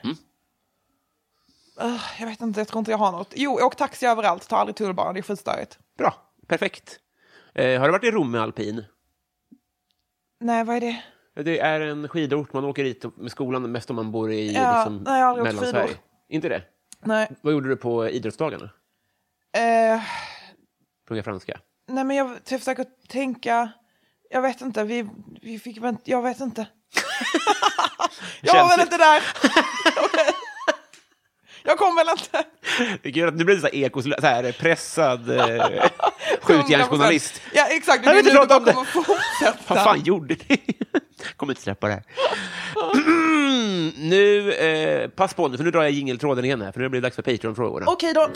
[SPEAKER 3] Ugh, jag vet inte, jag tror inte jag har något. Jo, åk taxi överallt, ta aldrig tunnelbanan, det är skitstörigt.
[SPEAKER 2] Bra. Perfekt. Eh, har du varit i Rom med alpin?
[SPEAKER 3] Nej, vad är det?
[SPEAKER 2] Det är en skidort. Man åker dit med skolan mest om man bor i
[SPEAKER 3] Ja,
[SPEAKER 2] liksom,
[SPEAKER 3] nej, jag har aldrig åkt
[SPEAKER 2] Mellansverige.
[SPEAKER 3] skidor.
[SPEAKER 2] Inte det?
[SPEAKER 3] Nej,
[SPEAKER 2] Vad gjorde du på idrottsdagarna?
[SPEAKER 3] eh,
[SPEAKER 2] Plugga franska?
[SPEAKER 3] nej men jag, jag försöker tänka... Jag vet inte, vi, vi fick vänt, Jag vet inte. jag var väl
[SPEAKER 2] Känsligt.
[SPEAKER 3] inte där! jag kom väl inte.
[SPEAKER 2] Det är kul att du blir så här, ekos, så här pressad eh, skjutjärnsjournalist.
[SPEAKER 3] Ja, exakt.
[SPEAKER 2] Jag vill
[SPEAKER 3] Det
[SPEAKER 2] inte
[SPEAKER 3] är nu
[SPEAKER 2] prata om
[SPEAKER 3] de
[SPEAKER 2] det.
[SPEAKER 3] kommer fortsätta.
[SPEAKER 2] Vad fan gjorde ni? Kommer inte släppa det här. nu, eh, pass på nu, för nu drar jag jingeltråden igen här, för nu blir det dags för Patreon-frågorna.
[SPEAKER 3] Okej då.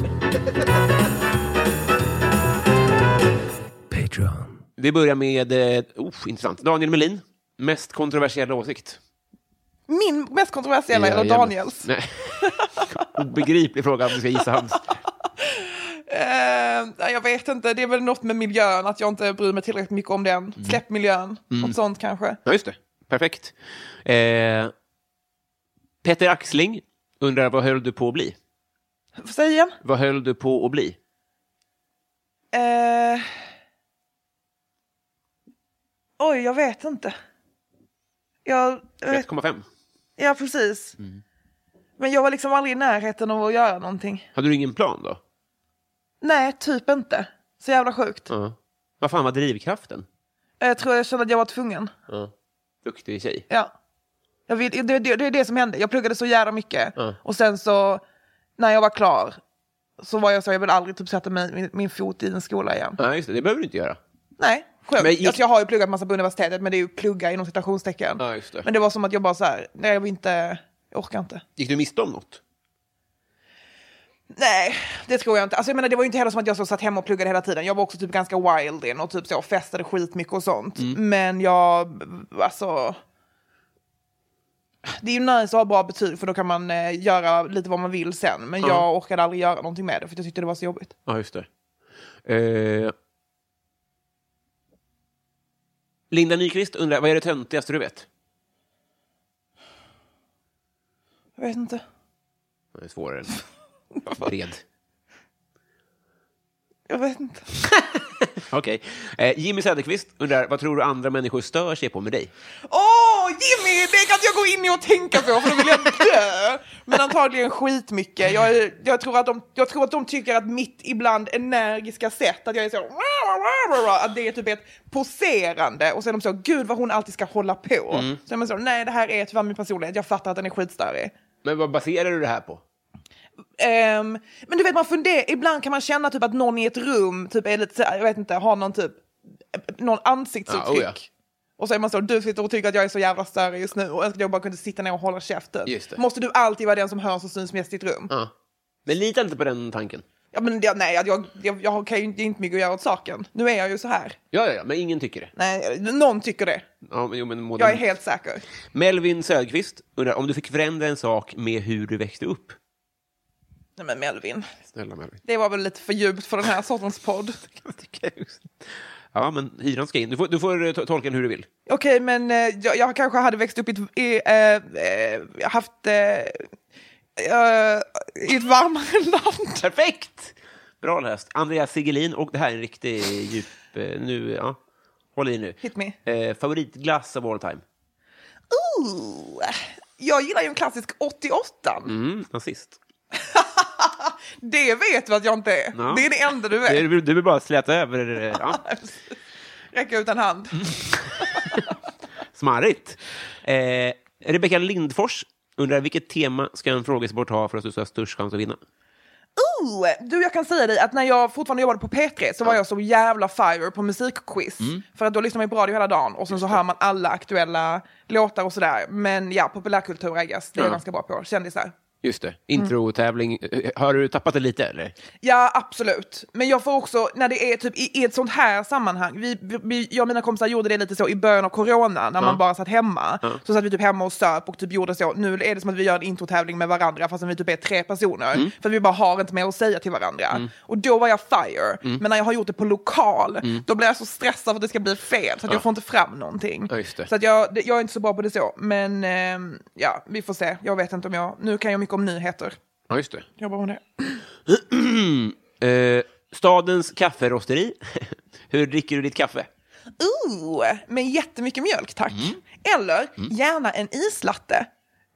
[SPEAKER 2] Vi börjar med, eh, oh, intressant, Daniel Melin. Mest kontroversiella åsikt?
[SPEAKER 3] Min mest kontroversiella, eller
[SPEAKER 2] Jajamän.
[SPEAKER 3] Daniels.
[SPEAKER 2] Nej. Obegriplig fråga om du ska gissa hans.
[SPEAKER 3] Eh, nej, jag vet inte, det är väl något med miljön, att jag inte bryr mig tillräckligt mycket om den. Släpp miljön, något sånt kanske.
[SPEAKER 2] Ja, just det. Perfekt. Eh, Peter Axling undrar, vad höll du på att bli?
[SPEAKER 3] Säg igen.
[SPEAKER 2] Vad höll du på att bli?
[SPEAKER 3] Eh, oj, jag vet inte. Jag, jag vet,
[SPEAKER 2] 1,5.
[SPEAKER 3] ja, precis. Men jag var liksom aldrig i närheten av att göra någonting.
[SPEAKER 2] Hade du ingen plan då?
[SPEAKER 3] Nej, typ inte. Så jävla sjukt. Eh,
[SPEAKER 2] Ja. Vad fan var drivkraften?
[SPEAKER 3] Jag tror jag kände att jag var tvungen.
[SPEAKER 2] Duktig tjej.
[SPEAKER 3] Ja. Jag vill, det, det, det är det som hände. Jag pluggade så jävla mycket.
[SPEAKER 2] Ja.
[SPEAKER 3] Och sen så, när jag var klar, så var jag så, jag vill aldrig typ sätta mig, min, min fot i en skola igen.
[SPEAKER 2] Nej, just det. Det behöver du inte göra.
[SPEAKER 3] Nej, skönt.
[SPEAKER 2] Men gick-
[SPEAKER 3] Alltså, jag har ju pluggat massa på universitetet, men det är ju plugga inom citationstecken.
[SPEAKER 2] Ja, just det.
[SPEAKER 3] Men det var som att jag bara så här, nej jag vill inte, jag orkar inte.
[SPEAKER 2] Gick du miste om något?
[SPEAKER 3] Nej, det tror jag inte. Alltså jag menar det var ju inte heller som att jag så satt hemma och pluggade hela tiden. Jag var också typ ganska wild in och typ så festade skitmycket och sånt. Men jag, alltså. Det är ju nice att ha bra betyg för då kan man eh, göra lite vad man vill sen. Men jag orkade aldrig göra någonting med det för jag tyckte det var så jobbigt.
[SPEAKER 2] Ja, just det. Eh... Linda Nyqvist undrar, vad är det töntigaste du vet?
[SPEAKER 3] Jag vet inte.
[SPEAKER 2] Det är svårare än bred.
[SPEAKER 3] Jag vet inte.
[SPEAKER 2] Okej. Eh, Jimmy Söderqvist undrar, vad tror du andra människor stör sig på med dig?
[SPEAKER 3] Åh, Jimmy! Det kan inte jag gå in i och tänka på för då vill jag dö. Men antagligen skitmycket. Jag, är- jag, tror att de, jag tror att de tycker att mitt ibland energiska sätt, att jag är så... Att det är typ ett poserande. Och sen är de så, gud vad hon alltid ska hålla på. Så är man så, nej det här är tyvärr min personlighet. Jag fattar att den är skitstörig.
[SPEAKER 2] Men vad baserar du det här på?
[SPEAKER 3] Ehm, men du vet, man funderar, ibland kan man känna typ att någon i ett rum typ är lite så här, jag vet inte, har någon typ, någon ansiktsuttryck.
[SPEAKER 2] Ja, oh ja.
[SPEAKER 3] Och så är man så, du sitter och tycker att jag är så jävla större just nu och önskar att jag bara kunde sitta ner och hålla käften.
[SPEAKER 2] Just det.
[SPEAKER 3] Måste du alltid vara den som hörs och syns mest i ett rum?
[SPEAKER 2] Ja. Men lita inte på den tanken.
[SPEAKER 3] Ja, men jag, nej, jag, jag, jag, jag kan ju inte, det är inte mycket att göra åt saken. Nu är jag ju så här.
[SPEAKER 2] Ja, ja, ja, men ingen tycker det.
[SPEAKER 3] Nej, någon tycker det.
[SPEAKER 2] Ja, men, jo, men må
[SPEAKER 3] Jag är
[SPEAKER 2] den-
[SPEAKER 3] helt säker.
[SPEAKER 2] Melvin Söderqvist undrar, om du fick förändra en sak med hur du växte upp?
[SPEAKER 3] Nej, men Melvin,
[SPEAKER 2] Snälla Melvin.
[SPEAKER 3] det var väl lite för djupt för den här sortens podd.
[SPEAKER 2] Jag tycker jag också. Ja, men hyran ska in. Du får, du får eh, to- tolka den hur du vill.
[SPEAKER 3] Okej, men eh, jag, jag kanske hade växt upp i ett, i, eh, eh, haft, eh, eh, i ett varmare land.
[SPEAKER 2] Perfekt! Bra läst. Andreas Sigelin, och det här är en riktig djup... eh, Nu, ja. Håll i nu.
[SPEAKER 3] Hit me.
[SPEAKER 2] Eh, favoritglass of all time?
[SPEAKER 3] Ooh. Jag gillar ju en klassisk 88.
[SPEAKER 2] Mm, nazist.
[SPEAKER 3] Det vet du att jag inte är.
[SPEAKER 2] Ja.
[SPEAKER 3] Det är det enda du
[SPEAKER 2] Du,
[SPEAKER 3] vet.
[SPEAKER 2] du vill bara släta över... eh, Ja.
[SPEAKER 3] Räcka ut en hand.
[SPEAKER 2] Smarrigt. Eh, Rebecka Lindfors undrar vilket tema ska en frågesport ha för att du ska ha störst chans att vinna?
[SPEAKER 3] Ooh, du, jag kan säga dig att när jag fortfarande jobbade på P3 så var jag så jävla fire på musikquiz. För att då lyssnar man ju på radio hela dagen och sen så hör man alla aktuella låtar och sådär. Men ja, populärkultur, I guess, det är jag
[SPEAKER 2] Ja.
[SPEAKER 3] ganska bra på. Kändisar.
[SPEAKER 2] Just det. Introtävling. Eh, Har du tappat det lite, eller?
[SPEAKER 3] Ja, absolut. Men jag får också, när det är typ i, i ett sånt här sammanhang, vi, vi, jag och mina kompisar gjorde det lite så i början av corona, när man bara satt hemma. Så satt vi typ hemma och söp och typ gjorde så, nu är det som att vi gör en introtävling med varandra fastän vi typ är tre personer.
[SPEAKER 2] Mm.
[SPEAKER 3] För att vi bara har inte mer att säga till varandra. Och då var jag fire.
[SPEAKER 2] Mm.
[SPEAKER 3] Men när jag har gjort det på lokal, då blir jag så stressad för att det ska bli fel. Så att jag får inte fram någonting.
[SPEAKER 2] Ja, just det.
[SPEAKER 3] Så att jag, det- jag är inte så bra på det så. Men ehm, ja, vi får se. Jag vet inte om jag, nu kan jag mycket om nyheter.
[SPEAKER 2] Ja, just det.
[SPEAKER 3] Jobbar med det.
[SPEAKER 2] Eh, stadens kafferosteri. Hur dricker du ditt kaffe?
[SPEAKER 3] Ooh, med jättemycket mjölk tack.
[SPEAKER 2] Mm.
[SPEAKER 3] Eller gärna en islatte.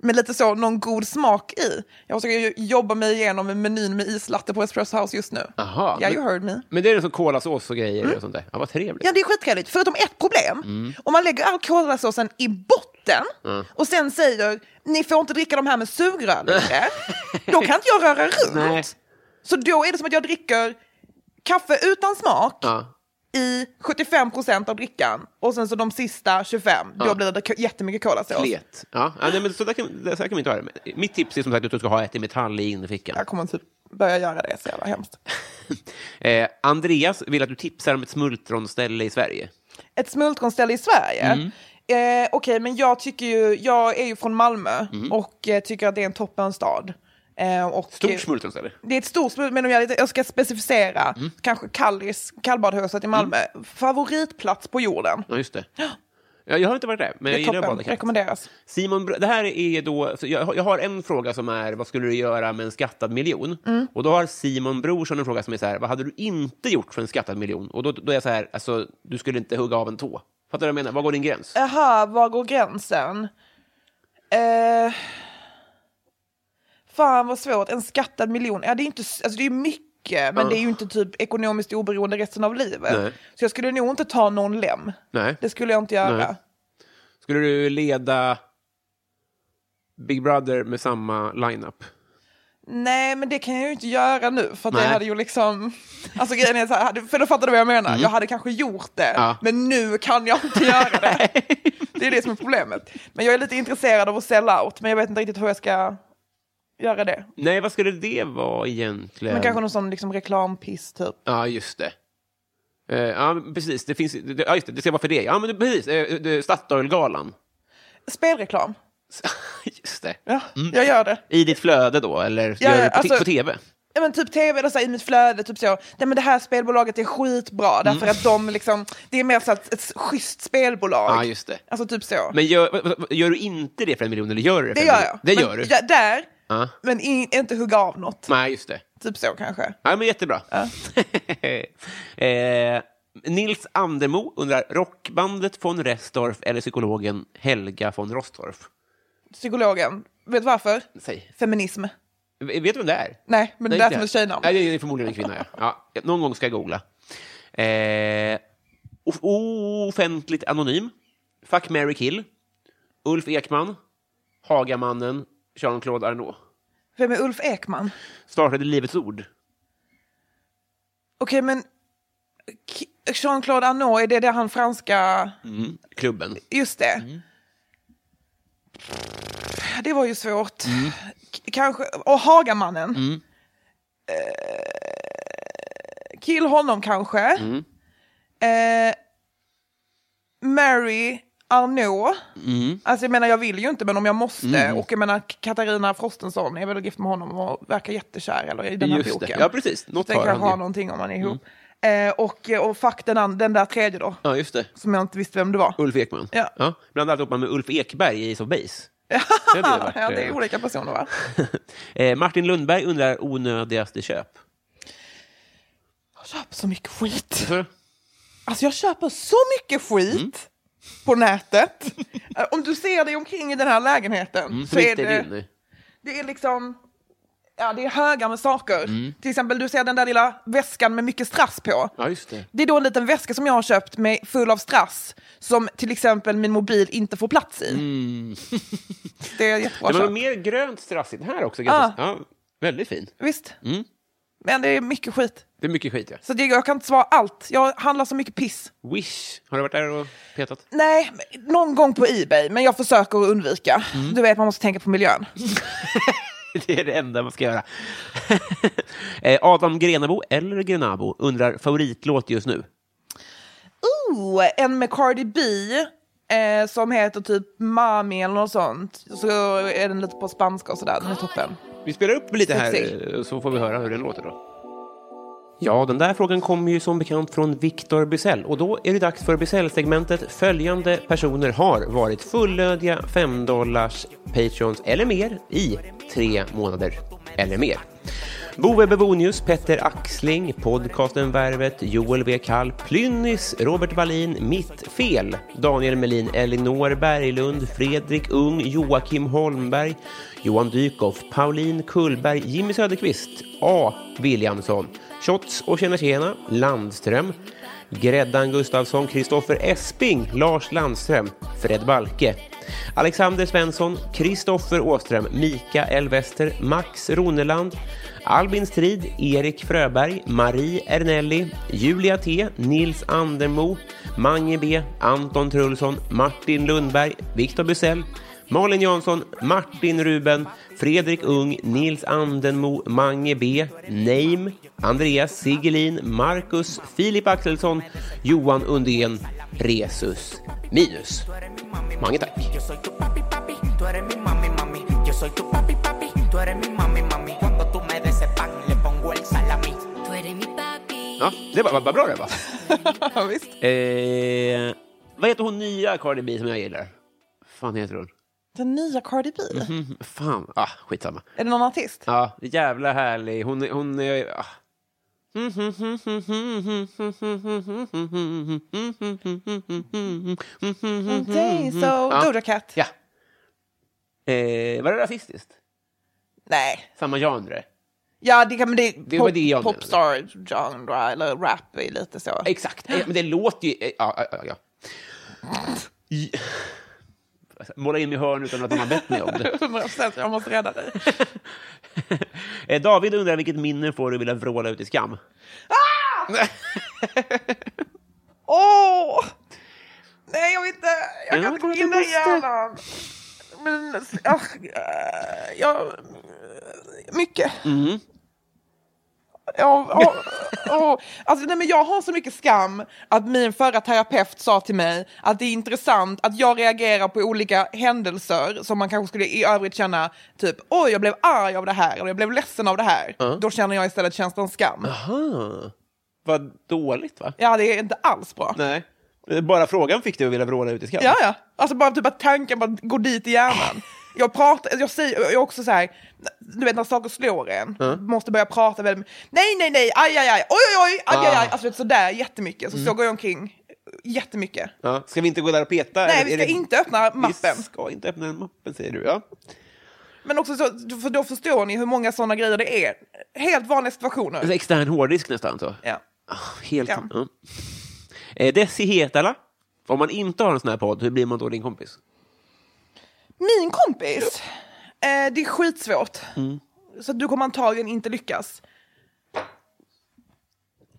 [SPEAKER 3] Med lite så någon god smak i. Jag försöker ju jobba mig igenom en menyn med islatte på Espresso House just nu.
[SPEAKER 2] Aha,
[SPEAKER 3] yeah,
[SPEAKER 2] men-
[SPEAKER 3] you heard me.
[SPEAKER 2] Men det är som kolasås och grejer och sånt där. Ja, vad trevligt.
[SPEAKER 3] Ja, det är skittrevligt. Förutom ett problem.
[SPEAKER 2] Mm.
[SPEAKER 3] Om man lägger all kolasåsen i botten och sen säger ni får inte dricka de här med sugrör längre. då kan inte jag röra runt.
[SPEAKER 2] Nej.
[SPEAKER 3] Så då är det som att jag dricker kaffe utan smak
[SPEAKER 2] Ja.
[SPEAKER 3] i 75 procent av drickan och sen så de sista 25, då blir det k- jättemycket kolasås.
[SPEAKER 2] Klet. Ja, ja nej, men så där kan, så där kan vi inte ha det. Men Mitt tips är som sagt att du ska ha ett i metall i innerfickan.
[SPEAKER 3] Jag kommer typ börja göra det, så jävla hemskt.
[SPEAKER 2] Eh, Andreas vill att du tipsar om ett smultronställe i Sverige.
[SPEAKER 3] Ett smultronställe i Sverige?
[SPEAKER 2] Mm.
[SPEAKER 3] Eh, Okej, men jag tycker ju, jag är ju från Malmö
[SPEAKER 2] Mm.
[SPEAKER 3] och eh, tycker att det är en toppenstad. Eh, och,
[SPEAKER 2] Stort smultronställe.
[SPEAKER 3] Det är ett stort smultron, men om jag, jag ska specificera,
[SPEAKER 2] Mm.
[SPEAKER 3] kanske Kallis, kallbadhuset i Malmö. Favoritplats på jorden.
[SPEAKER 2] Ja, just det. Ja, jag har inte varit där, men
[SPEAKER 3] Det
[SPEAKER 2] jag
[SPEAKER 3] är
[SPEAKER 2] gillar
[SPEAKER 3] toppen,
[SPEAKER 2] att bada katt.
[SPEAKER 3] rekommenderas.
[SPEAKER 2] Simon, Br- det här är då... Så jag, har- jag har en fråga som är vad skulle du göra med en skattad miljon?
[SPEAKER 3] Mm.
[SPEAKER 2] Och då har Simon Brorsson en fråga som är så här, vad hade du inte gjort för en skattad miljon? Och då, då är jag så här, alltså, du skulle inte hugga av en tå. Fattar du vad jag menar? Var går din gräns?
[SPEAKER 3] Jaha, var går gränsen? Eh, fan vad svårt, en skattad miljon. Ja, det är ju inte, s- alltså det är mycket, men det är ju inte typ ekonomiskt oberoende resten av livet.
[SPEAKER 2] Nej.
[SPEAKER 3] Så jag skulle nog inte ta någon lem.
[SPEAKER 2] Nej.
[SPEAKER 3] Det skulle jag inte göra.
[SPEAKER 2] Nej. Skulle du leda Big Brother med samma lineup?
[SPEAKER 3] Nej, men det kan jag ju inte göra nu. För att det
[SPEAKER 2] Nej.
[SPEAKER 3] hade ju liksom... Alltså grejen är så här, hade- för då fattar du vad jag menar. Jag hade kanske gjort det,
[SPEAKER 2] Mm. Ja.
[SPEAKER 3] men nu kan jag inte göra det. det är det som är problemet. Men jag är lite intresserad av att sälja out, men jag vet inte riktigt hur jag ska göra det.
[SPEAKER 2] Nej, vad skulle det vara egentligen?
[SPEAKER 3] Men kanske någon sån liksom reklampiss typ.
[SPEAKER 2] Ja, just det. Eh, ja, men precis. Det finns... det- Ja, just det. Det ska vara för det. Ja, men det- precis. Uh, Statoilgalan.
[SPEAKER 3] Spelreklam.
[SPEAKER 2] Just det.
[SPEAKER 3] Ja, jag gör det.
[SPEAKER 2] I ditt flöde då, eller gör
[SPEAKER 3] ja,
[SPEAKER 2] du det på, t-
[SPEAKER 3] alltså-
[SPEAKER 2] på tv?
[SPEAKER 3] Ja, men typ tv eller så här, i mitt flöde, typ så. Nej, men det här spelbolaget är
[SPEAKER 2] Mm.
[SPEAKER 3] skitbra därför att de liksom, det är mer så att ett schysst spelbolag.
[SPEAKER 2] Ja, just det.
[SPEAKER 3] Alltså typ så.
[SPEAKER 2] Men gör, vad- vad- gör du inte det för en miljon, eller gör du det för
[SPEAKER 3] det
[SPEAKER 2] en
[SPEAKER 3] gör
[SPEAKER 2] miljon?
[SPEAKER 3] jag.
[SPEAKER 2] Det gör
[SPEAKER 3] men,
[SPEAKER 2] du?
[SPEAKER 3] ja, där,
[SPEAKER 2] Ja.
[SPEAKER 3] men in, inte hugga av något.
[SPEAKER 2] Nej, just det.
[SPEAKER 3] Typ så kanske.
[SPEAKER 2] Ja, men jättebra. eh, Nils Andermo undrar, rockbandet von Restorff eller psykologen Helga von Rostorff?
[SPEAKER 3] Psykologen, vet du varför?
[SPEAKER 2] Säg.
[SPEAKER 3] Feminism.
[SPEAKER 2] V- Vet du vem det är?
[SPEAKER 3] Nej, men det
[SPEAKER 2] inte
[SPEAKER 3] lät som ett tjejnamn.
[SPEAKER 2] Nej, det är förmodligen en kvinna, ja. ja. Någon gång ska jag googla. Eh, off- offentligt anonym. Fuck, Mary kill. Ulf Ekman. Hagamannen. Jean-Claude Arnault.
[SPEAKER 3] Vem är Ulf Ekman?
[SPEAKER 2] Startade Livets Ord.
[SPEAKER 3] Okej, men K- Jean-Claude Arnault, är det det han franska...
[SPEAKER 2] Klubben.
[SPEAKER 3] Just det.
[SPEAKER 2] Mm.
[SPEAKER 3] Det var ju svårt.
[SPEAKER 2] Mm.
[SPEAKER 3] K- Kanske, och Hagamannen. Eh, kill honom kanske.
[SPEAKER 2] Mm.
[SPEAKER 3] Eh, Mary Arnault.
[SPEAKER 2] Mm.
[SPEAKER 3] Alltså jag menar jag vill ju inte men om jag måste. Och jag menar Katarina Frostenson är väl gift med honom och verkar jättekär eller, i den här
[SPEAKER 2] Just det.
[SPEAKER 3] boken.
[SPEAKER 2] Ja, precis. Mm. Något
[SPEAKER 3] Den
[SPEAKER 2] har
[SPEAKER 3] kanske
[SPEAKER 2] han ju.
[SPEAKER 3] har någonting om man är ihop. Eh, och, och fuck den, an- den där tredje då,
[SPEAKER 2] Ja, just det.
[SPEAKER 3] som jag inte visste vem det var.
[SPEAKER 2] Ulf Ekman.
[SPEAKER 3] Ja.
[SPEAKER 2] Blanda alltihopa med Ulf Ekberg i Ace of Base. Det hade ju varit,
[SPEAKER 3] ja, det är
[SPEAKER 2] eh,
[SPEAKER 3] olika personer va?
[SPEAKER 2] eh, Martin Lundberg undrar onödigaste köp.
[SPEAKER 3] Jag köper så mycket skit.
[SPEAKER 2] Tror du?
[SPEAKER 3] Alltså jag köper så mycket skit
[SPEAKER 2] Mm.
[SPEAKER 3] på nätet. Eh, Om du ser dig omkring i den här lägenheten så
[SPEAKER 2] Som
[SPEAKER 3] är
[SPEAKER 2] inte
[SPEAKER 3] det...
[SPEAKER 2] är din.
[SPEAKER 3] Det är liksom, ja det är högar med saker.
[SPEAKER 2] Mm.
[SPEAKER 3] Till exempel du ser den där lilla väskan med mycket strass på.
[SPEAKER 2] Ja, just det.
[SPEAKER 3] Det är då en liten väska som jag har köpt med full av strass som till exempel min mobil inte får plats i.
[SPEAKER 2] Mm.
[SPEAKER 3] det är jättebra
[SPEAKER 2] Det var
[SPEAKER 3] köp.
[SPEAKER 2] något mer grönt strassigt här också. Ganska, Alltså- ja, väldigt fin.
[SPEAKER 3] Visst.
[SPEAKER 2] Mm.
[SPEAKER 3] Men det är mycket skit.
[SPEAKER 2] Det är mycket skit, ja.
[SPEAKER 3] Så det, jag kan inte svara allt. Jag handlar så mycket piss.
[SPEAKER 2] Wish. Har du varit där och petat?
[SPEAKER 3] Nej, någon gång på Ebay, men jag försöker att undvika.
[SPEAKER 2] Mm.
[SPEAKER 3] Du vet, man måste tänka på miljön.
[SPEAKER 2] Det är det enda man ska göra. Eh, Adam Grenabo, eller Grenabo, undrar favoritlåt just nu.
[SPEAKER 3] Ooh, en med Cardi B eh, som heter typ Mami eller något sånt. Så är den lite på spanska och sådär. Den är toppen.
[SPEAKER 2] Vi spelar upp lite här
[SPEAKER 3] Sexy.
[SPEAKER 2] eh, så får vi höra hur den låter då. Ja, den där frågan kommer ju som bekant från Viktor Bysell och då är det dags för Bysell-segmentet. Följande personer har varit fullödiga 5 dollars patreons eller mer i tre månader eller mer. Bove Bebonius, Petter Axling, podcasten Värvet, Joel W. Kall, Plynnis, Robert Wallin, Mitt Fel, Daniel Melin, Elinor Berglund, Fredrik Ung, Joakim Holmberg, Johan Dykhoff, Pauline Kullberg, Jimmy Söderqvist, A. Williamsson, Shots och Tjena Tjena, Landström, Gräddan Gustafsson, Kristoffer Esping, Lars Landström, Fred Balke, Alexander Svensson, Kristoffer Åström, Mikael Wester, Max Roneland, Albin Strid, Erik Fröberg, Marie Ernelli, Julia T, Nils Andermo, Mange B, Anton Trulsson, Martin Lundberg, Viktor Bysell, Malin Jansson, Martin Ruben, Fredrik Ung, Nils Andenmo, Mange B, Neim, Andreas Sigelin, Marcus, Filip Axelsson, Johan Undén, Resus, Minus. Mange tack.
[SPEAKER 5] Yo soy tu papi, papi, tú eres mi mami, mami. Yo soy tu papi, papi, tú eres mi mami, mami. Cuando tú me des ese pan, le pongo el salami.
[SPEAKER 6] Tú eres mi papi.
[SPEAKER 2] Ja, det var, var bra det var.
[SPEAKER 3] Ja, visst.
[SPEAKER 2] Eh, vad heter hon nya Cardi B som jag gillar? fan heter hon?
[SPEAKER 3] Den nya Cardi B.
[SPEAKER 2] Mm, Fan, ah, skitsamma.
[SPEAKER 3] Är det någon artist?
[SPEAKER 2] Ja, jävla härlig. Hon, är- hon är... Ah.
[SPEAKER 3] Okay, so Doja Cat.
[SPEAKER 2] Mhm, Ja. Eh, var det rasistiskt?
[SPEAKER 3] Nej.
[SPEAKER 2] Samma genre?
[SPEAKER 3] Ja, det, kan, men det,
[SPEAKER 2] Det
[SPEAKER 3] pop,
[SPEAKER 2] var det jag menade.
[SPEAKER 3] popstar genre eller rap är lite så.
[SPEAKER 2] Exakt. Eh, men det låter ju... eh, Ja, ja, ja, ja. I- Måla in mig i hörn utan att de har bett mig om det.
[SPEAKER 3] 100% jag måste rädda dig.
[SPEAKER 2] Eh, David undrar vilket minne får du vilja vråla ut i skam?
[SPEAKER 3] Åh! Nej, jag vill inte. Jag
[SPEAKER 2] Ja,
[SPEAKER 3] kan inte gå
[SPEAKER 2] men
[SPEAKER 3] in
[SPEAKER 2] du
[SPEAKER 3] i
[SPEAKER 2] måste.
[SPEAKER 3] hjärnan. Men, ah, eh, jag... Mycket. Ja, ja, ja. Alltså, nej, men jag har så mycket skam att min förra terapeut sa till mig att det är intressant att jag reagerar på olika händelser som man kanske skulle i övrigt känna typ oj jag blev arg av det här eller jag blev ledsen av det här. Då känner jag istället känslan skam.
[SPEAKER 2] Aha. Vad dåligt, va?
[SPEAKER 3] Ja det är inte alls bra.
[SPEAKER 2] Nej. Eh, Bara frågan fick du att vilja vråla ut i skam?
[SPEAKER 3] Ja, ja. Alltså bara typ att tanken bara går dit i hjärnan. Jag pratar, jag säger jag är också så här, du vet när saker slår en, måste börja prata väldigt Nej, nej, nej, aj, aj, aj, oj, oj, oj, aj, aj,
[SPEAKER 2] Ah.
[SPEAKER 3] aj. Alltså vet, sådär jättemycket.
[SPEAKER 2] Mm.
[SPEAKER 3] Så, så går jag omkring jättemycket.
[SPEAKER 2] Ja. Ska vi inte gå där och peta?
[SPEAKER 3] Nej,
[SPEAKER 2] Är
[SPEAKER 3] vi
[SPEAKER 2] det-
[SPEAKER 3] ska
[SPEAKER 2] är det-
[SPEAKER 3] inte öppna mappen.
[SPEAKER 2] Vi ska inte öppna den mappen, säger du. Ja.
[SPEAKER 3] Men också så, för då förstår ni hur många sådana grejer det är. Helt vanliga situationer.
[SPEAKER 2] Extern Alltså, hårddisk nästan, så.
[SPEAKER 3] Ja.
[SPEAKER 2] Ah, Helt...
[SPEAKER 3] Ja.
[SPEAKER 2] Ja. Eh, Desi Hetala. Om man inte har en sån här podd, hur blir man då din kompis?
[SPEAKER 3] Min kompis, eh, det är skitsvårt.
[SPEAKER 2] Mm.
[SPEAKER 3] Så du kommer antagligen inte lyckas.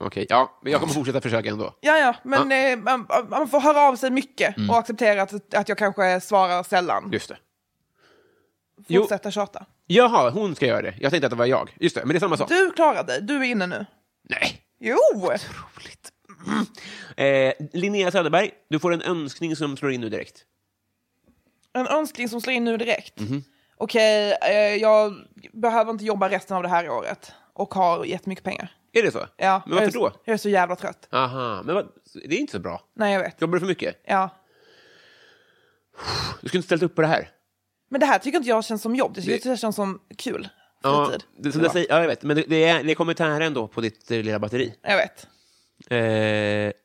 [SPEAKER 2] Okej, ja, men jag kommer fortsätta försöka ändå.
[SPEAKER 3] Ja, ja, men eh, man, man får höra av sig mycket
[SPEAKER 2] Mm.
[SPEAKER 3] och acceptera att, att jag kanske svarar sällan.
[SPEAKER 2] Just det. Jo.
[SPEAKER 3] Fortsätta tjata.
[SPEAKER 2] Jaha, hon ska göra det. Jag tänkte att det var jag. Just det, men det är samma sak.
[SPEAKER 3] Du klarar dig, du är inne nu.
[SPEAKER 2] Nej,
[SPEAKER 3] Jo!
[SPEAKER 2] roligt. Eh, Linnea Söderberg, du får en önskning som slår in nu direkt.
[SPEAKER 3] En önskning som slår in nu direkt.
[SPEAKER 2] Mhm.
[SPEAKER 3] Okej, eh, jag behöver inte jobba resten av det här året och har jättemycket pengar.
[SPEAKER 2] Är det så?
[SPEAKER 3] Ja,
[SPEAKER 2] Men varför
[SPEAKER 3] jag är,
[SPEAKER 2] då?
[SPEAKER 3] Jag är så jävla trött.
[SPEAKER 2] Aha, men vad, det är inte så bra.
[SPEAKER 3] Nej, jag vet.
[SPEAKER 2] Jobbar du för mycket?
[SPEAKER 3] Ja.
[SPEAKER 2] Du skulle inte ställt upp på det här.
[SPEAKER 3] Men det här tycker inte jag känns som jobb. Det tycker
[SPEAKER 2] Det-
[SPEAKER 3] jag det känns som kul.
[SPEAKER 2] Ja,
[SPEAKER 3] Fritid.
[SPEAKER 2] det, som jag, säger, ja, jag vet. Men det, det, är, det kommer tära ändå på ditt eh, lilla batteri.
[SPEAKER 3] Jag vet.
[SPEAKER 2] Eh,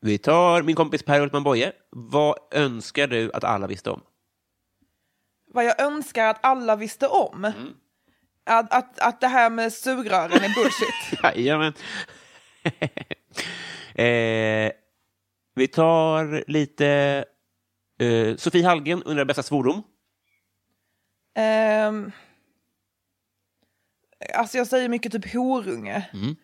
[SPEAKER 2] vi tar min kompis Per Hultman Boye. Vad önskar du att alla visste om?
[SPEAKER 3] Vad jag önskar att alla visste om.
[SPEAKER 2] Mm.
[SPEAKER 3] Att, att, att det här med sugrören är bullshit.
[SPEAKER 2] Jajamän. eh, vi tar lite... Eh, Sofie Hallgren undrar bästa svordom.
[SPEAKER 3] Ehm, alltså jag säger mycket typ horunge.
[SPEAKER 2] Mm.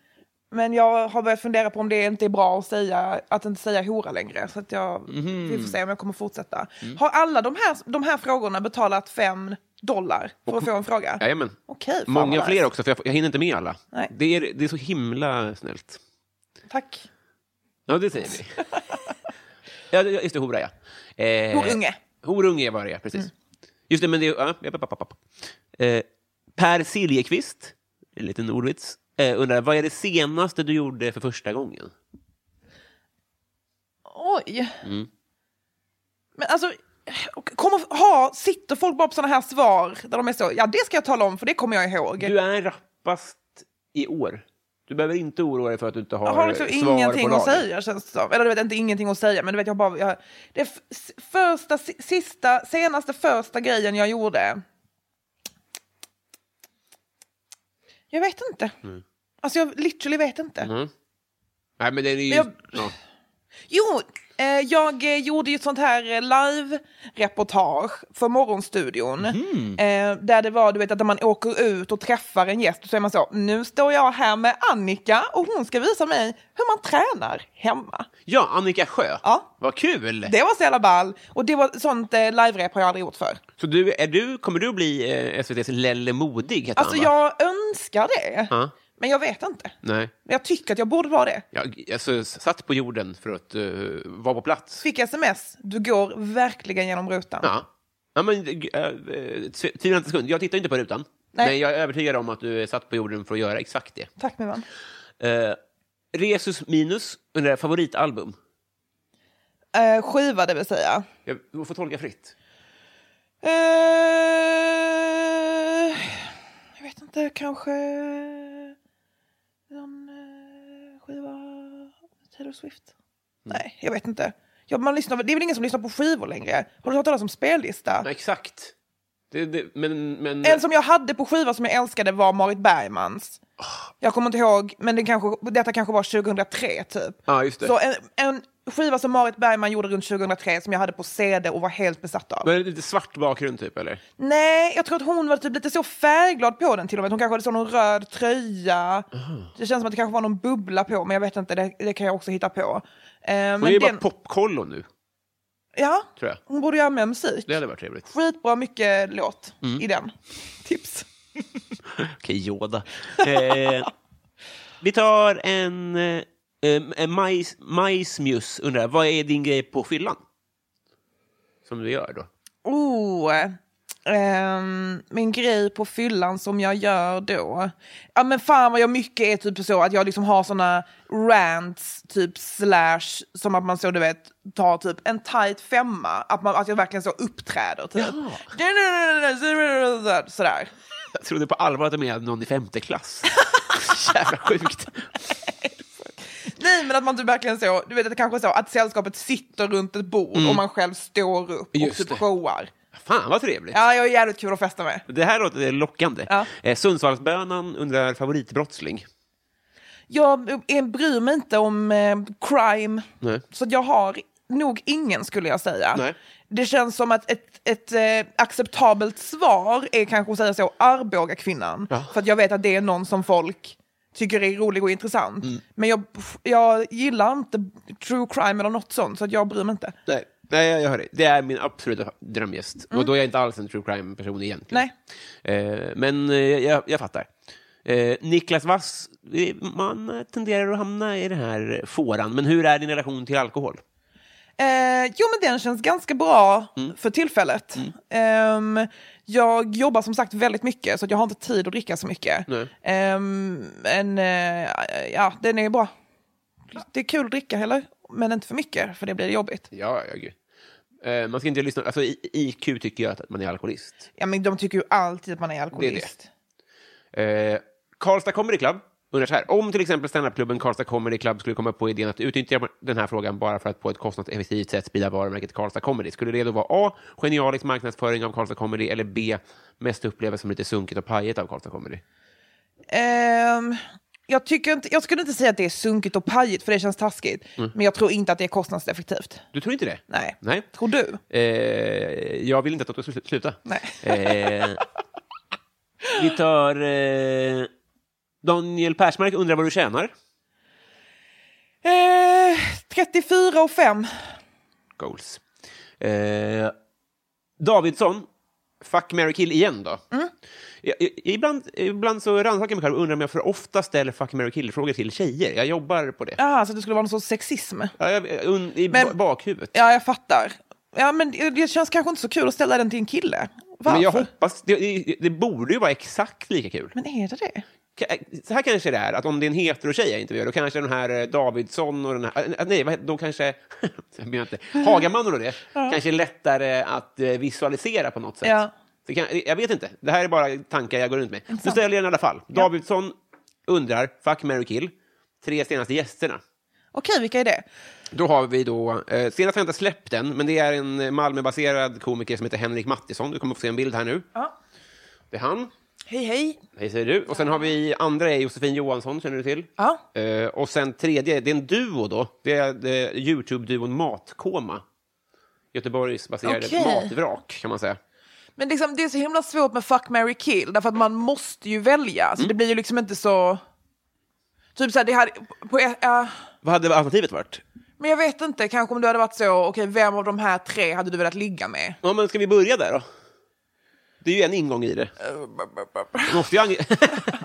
[SPEAKER 3] Men jag har börjat fundera på om det inte är bra att, säga, att inte säga hora längre. Så att jag,
[SPEAKER 2] Mhm.
[SPEAKER 3] vi får se om jag kommer fortsätta.
[SPEAKER 2] Mm.
[SPEAKER 3] Har alla de här, de här frågorna betalat fem dollar för att få en fråga?
[SPEAKER 2] Jajamän.
[SPEAKER 3] Okej, fan vad
[SPEAKER 2] Eh, Många
[SPEAKER 3] nice.
[SPEAKER 2] fler också, för jag, jag hinner inte med alla.
[SPEAKER 3] Nej.
[SPEAKER 2] Det, är, det är så himla snällt.
[SPEAKER 3] Tack.
[SPEAKER 2] Ja, det säger vi. ja, det- just det, hora, ja. Eh,
[SPEAKER 3] Horunge.
[SPEAKER 2] Horunge var det, ja.
[SPEAKER 3] Mm.
[SPEAKER 2] Precis. Just det, men det... Ja, ja, ja, ja, ja, ja. Eh, per Siljeqvist, en liten ordvits, eh, undrar vad är det senaste du gjorde för första gången?
[SPEAKER 3] Oj.
[SPEAKER 2] Mm.
[SPEAKER 3] Men alltså, och kommer, ha, sitter folk bara på sådana här svar där de är så, ja det ska jag tala om för det kommer jag ihåg.
[SPEAKER 2] Du är rappast i år. Du behöver inte oroa dig för att du inte har,
[SPEAKER 3] jag har liksom
[SPEAKER 2] svar
[SPEAKER 3] ingenting
[SPEAKER 2] på
[SPEAKER 3] att
[SPEAKER 2] lager.
[SPEAKER 3] säga känns det som. Eller du vet inte ingenting att säga men du vet jag bara, jag, det f- s- första, si- sista, senaste första grejen jag gjorde. Jag vet inte.
[SPEAKER 2] Mm.
[SPEAKER 3] Alltså jag literally vet inte.
[SPEAKER 2] Nej, men det är ju...
[SPEAKER 3] Men jag-
[SPEAKER 2] Ja.
[SPEAKER 3] Jo, eh, jag eh, gjorde ju ett sånt här eh, live-reportage för Morgonstudion.
[SPEAKER 2] Mhm.
[SPEAKER 3] Eh, där det var, du vet, att när man åker ut och träffar en gäst så är man så, nu står jag här med Annika och hon ska visa mig hur man tränar hemma.
[SPEAKER 2] ja, Annika Sjö.
[SPEAKER 3] Ja.
[SPEAKER 2] Vad kul!
[SPEAKER 3] Det var så jävla ball och det var sånt eh, live-rep har jag aldrig gjort förr.
[SPEAKER 2] Så du, är du, kommer du bli eh, SVTs Lelle Modig? Heter
[SPEAKER 3] Alltså
[SPEAKER 2] han, va?
[SPEAKER 3] jag önskar det,
[SPEAKER 2] Ja.
[SPEAKER 3] men jag vet inte.
[SPEAKER 2] Nej.
[SPEAKER 3] Men jag tycker att jag borde vara det.
[SPEAKER 2] Jag, alltså, satt på jorden för att eh, vara på plats.
[SPEAKER 3] Fick sms, du går verkligen genom rutan.
[SPEAKER 2] Ja. Ja, men, eh, eh, tv- tvivla inte en sekund. Jag tittar inte på rutan.
[SPEAKER 3] Nej.
[SPEAKER 2] Men jag är övertygad om att du är satt på jorden för att göra exakt det.
[SPEAKER 3] Tack min vän.
[SPEAKER 2] Eh, Resus Minus undrar favoritalbum.
[SPEAKER 3] Eh, skiva det vill säga.
[SPEAKER 2] Jag, du får tolka fritt.
[SPEAKER 3] Eh, jag vet inte, kanske någon eh, skiva Taylor Swift?
[SPEAKER 2] Mm.
[SPEAKER 3] Nej, jag vet inte. Ja, man lyssnar, väl- det är väl ingen som lyssnar på skivor längre? Har du hört talas om spellista?
[SPEAKER 2] Ja, exakt. Det, det, men, men,
[SPEAKER 3] En som jag hade på skiva som jag älskade var Marit Bergmans.
[SPEAKER 2] Oh.
[SPEAKER 3] Jag kommer inte ihåg, men det kanske, detta kanske var 2003 typ.
[SPEAKER 2] Ja, just det.
[SPEAKER 3] Så en, en skiva som Marit Bergman gjorde runt 2003 som jag hade på CD och var helt besatt av.
[SPEAKER 2] men är det lite svart bakgrund, typ? Eller?
[SPEAKER 3] Nej, jag tror att hon var typ lite så färgglad på den till och med. Hon kanske hade så någon röd tröja. Det känns som att det kanske var någon bubbla på, men jag vet inte, det, det kan jag också hitta på. Eh, men
[SPEAKER 2] Hon är ju
[SPEAKER 3] den,
[SPEAKER 2] bara popkollo nu,
[SPEAKER 3] ja,
[SPEAKER 2] tror jag.
[SPEAKER 3] hon borde göra mer musik.
[SPEAKER 2] Det hade varit trevligt.
[SPEAKER 3] Skitbra mycket låt
[SPEAKER 2] Mm.
[SPEAKER 3] i den. Tips.
[SPEAKER 2] Okej, Yoda. Eh, vi tar en... eh, en majs, majsmjus undrar, vad är din grej på fyllan? Som du gör då?
[SPEAKER 3] Oh, ehm, min grej på fyllan som jag gör då. Ja men fan vad jag mycket är typ så att jag liksom har såna rants typ slash som att man så du vet tar typ en tight femma. Att, man, att jag verkligen så uppträder typ. Sådär.
[SPEAKER 2] Jag trodde på allvar att de menade någon i femte klass. Jävla sjukt.
[SPEAKER 3] Nej men att man typ verkligen så, du vet att det kanske är så att sällskapet sitter runt ett bord och man själv står upp och
[SPEAKER 2] Mm. Just det.
[SPEAKER 3] typ showar.
[SPEAKER 2] Fan, vad trevligt.
[SPEAKER 3] Ja jag är jävligt kul att festa med.
[SPEAKER 2] Det här låter lockande.
[SPEAKER 3] Ja.
[SPEAKER 2] Eh, Sundsvallsbönan undrar favoritbrottsling.
[SPEAKER 3] Jag eh, bryr mig inte om eh, crime.
[SPEAKER 2] Nej.
[SPEAKER 3] Så att jag har nog ingen skulle jag säga.
[SPEAKER 2] Nej.
[SPEAKER 3] Det känns som att ett, ett eh, acceptabelt svar är kanske att säga så Arboga kvinnan.
[SPEAKER 2] Ja.
[SPEAKER 3] För att jag vet att det är någon som folk tycker är rolig och intressant.
[SPEAKER 2] Mm.
[SPEAKER 3] Men jag, jag gillar inte true crime eller något sånt så att jag bryr mig inte.
[SPEAKER 2] Nej, nej jag hör dig. Det är min absoluta drömgäst.
[SPEAKER 3] Mm.
[SPEAKER 2] Och då är jag inte alls en true crime-person egentligen. Nej. Eh, men eh, jag, jag fattar. Eh, Niklas Wass, eh, man tenderar att hamna i den här fåran. Men hur är din relation till alkohol?
[SPEAKER 3] Eh, jo, men den känns ganska bra för tillfället. Ehm, jag jobbar som sagt väldigt mycket, så att jag har inte tid att dricka så mycket. Ehm, men eh, ja, den är bra. Det är kul att dricka heller, men inte för mycket, för det blir jobbigt.
[SPEAKER 2] Ja, ja, gud. Eh, man ska inte lyssna. Alltså, I- IQ tycker jag att man är alkoholist.
[SPEAKER 3] Ja, men de tycker ju alltid att man är alkoholist.
[SPEAKER 2] Eh, Karlstad Comedy Club undrar så här. Om till exempel standupklubben Karlstad Comedy Club skulle komma på idén att utnyttja den här frågan bara för att på ett kostnadseffektivt sätt sprida varumärket Karlstad Comedy, skulle det då vara A. Genialisk marknadsföring av Karlstad Comedy eller B. Mest upplevas som lite sunkigt och pajigt av Karlstad Comedy?
[SPEAKER 3] Ehm, jag, tycker inte, jag skulle inte säga att det är sunkigt och pajigt, för det känns taskigt. Men jag tror inte att det är kostnadseffektivt.
[SPEAKER 2] Du tror inte det?
[SPEAKER 3] Nej.
[SPEAKER 2] Nej.
[SPEAKER 3] Tror du?
[SPEAKER 2] Eh, jag vill inte att du ska slu- sluta.
[SPEAKER 3] Nej.
[SPEAKER 2] Eh, vi tar... Eh, Daniel Persmark undrar vad du tjänar.
[SPEAKER 3] Eh, 34 och 5.
[SPEAKER 2] Goals. Eh, Davidsson, fuck, marry, kill igen då.
[SPEAKER 3] Mm.
[SPEAKER 2] I, i, ibland, ibland så rannsakar jag mig själv och undrar om jag för ofta ställer fuck, marry, kill-frågor till tjejer. Jag jobbar på det.
[SPEAKER 3] Jaha, så alltså, det skulle vara någon sorts sexism.
[SPEAKER 2] Ja, jag, jag- un, I
[SPEAKER 3] Men-
[SPEAKER 2] ba- bakhuvudet.
[SPEAKER 3] Ja, jag fattar. Ja, men det- det känns kanske inte så kul att ställa den till en kille. Varför?
[SPEAKER 2] Men jag hoppas... Det, det, det borde ju vara exakt lika kul.
[SPEAKER 3] Men är det det?
[SPEAKER 2] Ka- eh, Så här kanske det är, att om det är en hetero tjej jag intervjuar, då kanske den här eh, Davidsson och den här... äh, Nej, vad heter- då kanske... jag menar inte. Hagamannen och det kanske är lättare att eh, visualisera på något sätt.
[SPEAKER 3] Ja.
[SPEAKER 2] Så kan, eh, jag vet inte. Det här är bara tankar jag går runt med. Nu ställer jag den i alla fall. Davidsson undrar, fuck, marry, kill, tre senaste gästerna.
[SPEAKER 3] Okej, vilka är det?
[SPEAKER 2] Då har vi då, eh, senast har jag inte släppt den, men det är en eh, Malmöbaserad komiker som heter Henrik Mattisson. Du kommer få se en bild här nu.
[SPEAKER 3] Ja.
[SPEAKER 2] Det är han.
[SPEAKER 3] Hej, hej.
[SPEAKER 2] Hej säger du. Och sen har vi andra är Josefin Johansson, känner du till?
[SPEAKER 3] Ja.
[SPEAKER 2] Eh, och sen tredje, det är en duo då. Det är eh, Youtube-duon Matkoma. Göteborgsbaserade
[SPEAKER 3] Okej.
[SPEAKER 2] matvrak, kan man säga.
[SPEAKER 3] Men liksom, det är så himla svårt med fuck, marry, kill, därför att man måste ju välja.
[SPEAKER 2] Mm.
[SPEAKER 3] Så det blir ju liksom inte så... Typ så här, det hade... På, ja.
[SPEAKER 2] Vad hade alternativet varit?
[SPEAKER 3] Men jag vet inte, kanske om du hade varit så, okej, vem av de här tre hade du velat ligga med?
[SPEAKER 2] Ja, men ska vi börja där då? Det är ju en ingång i det. Måste jag... ange-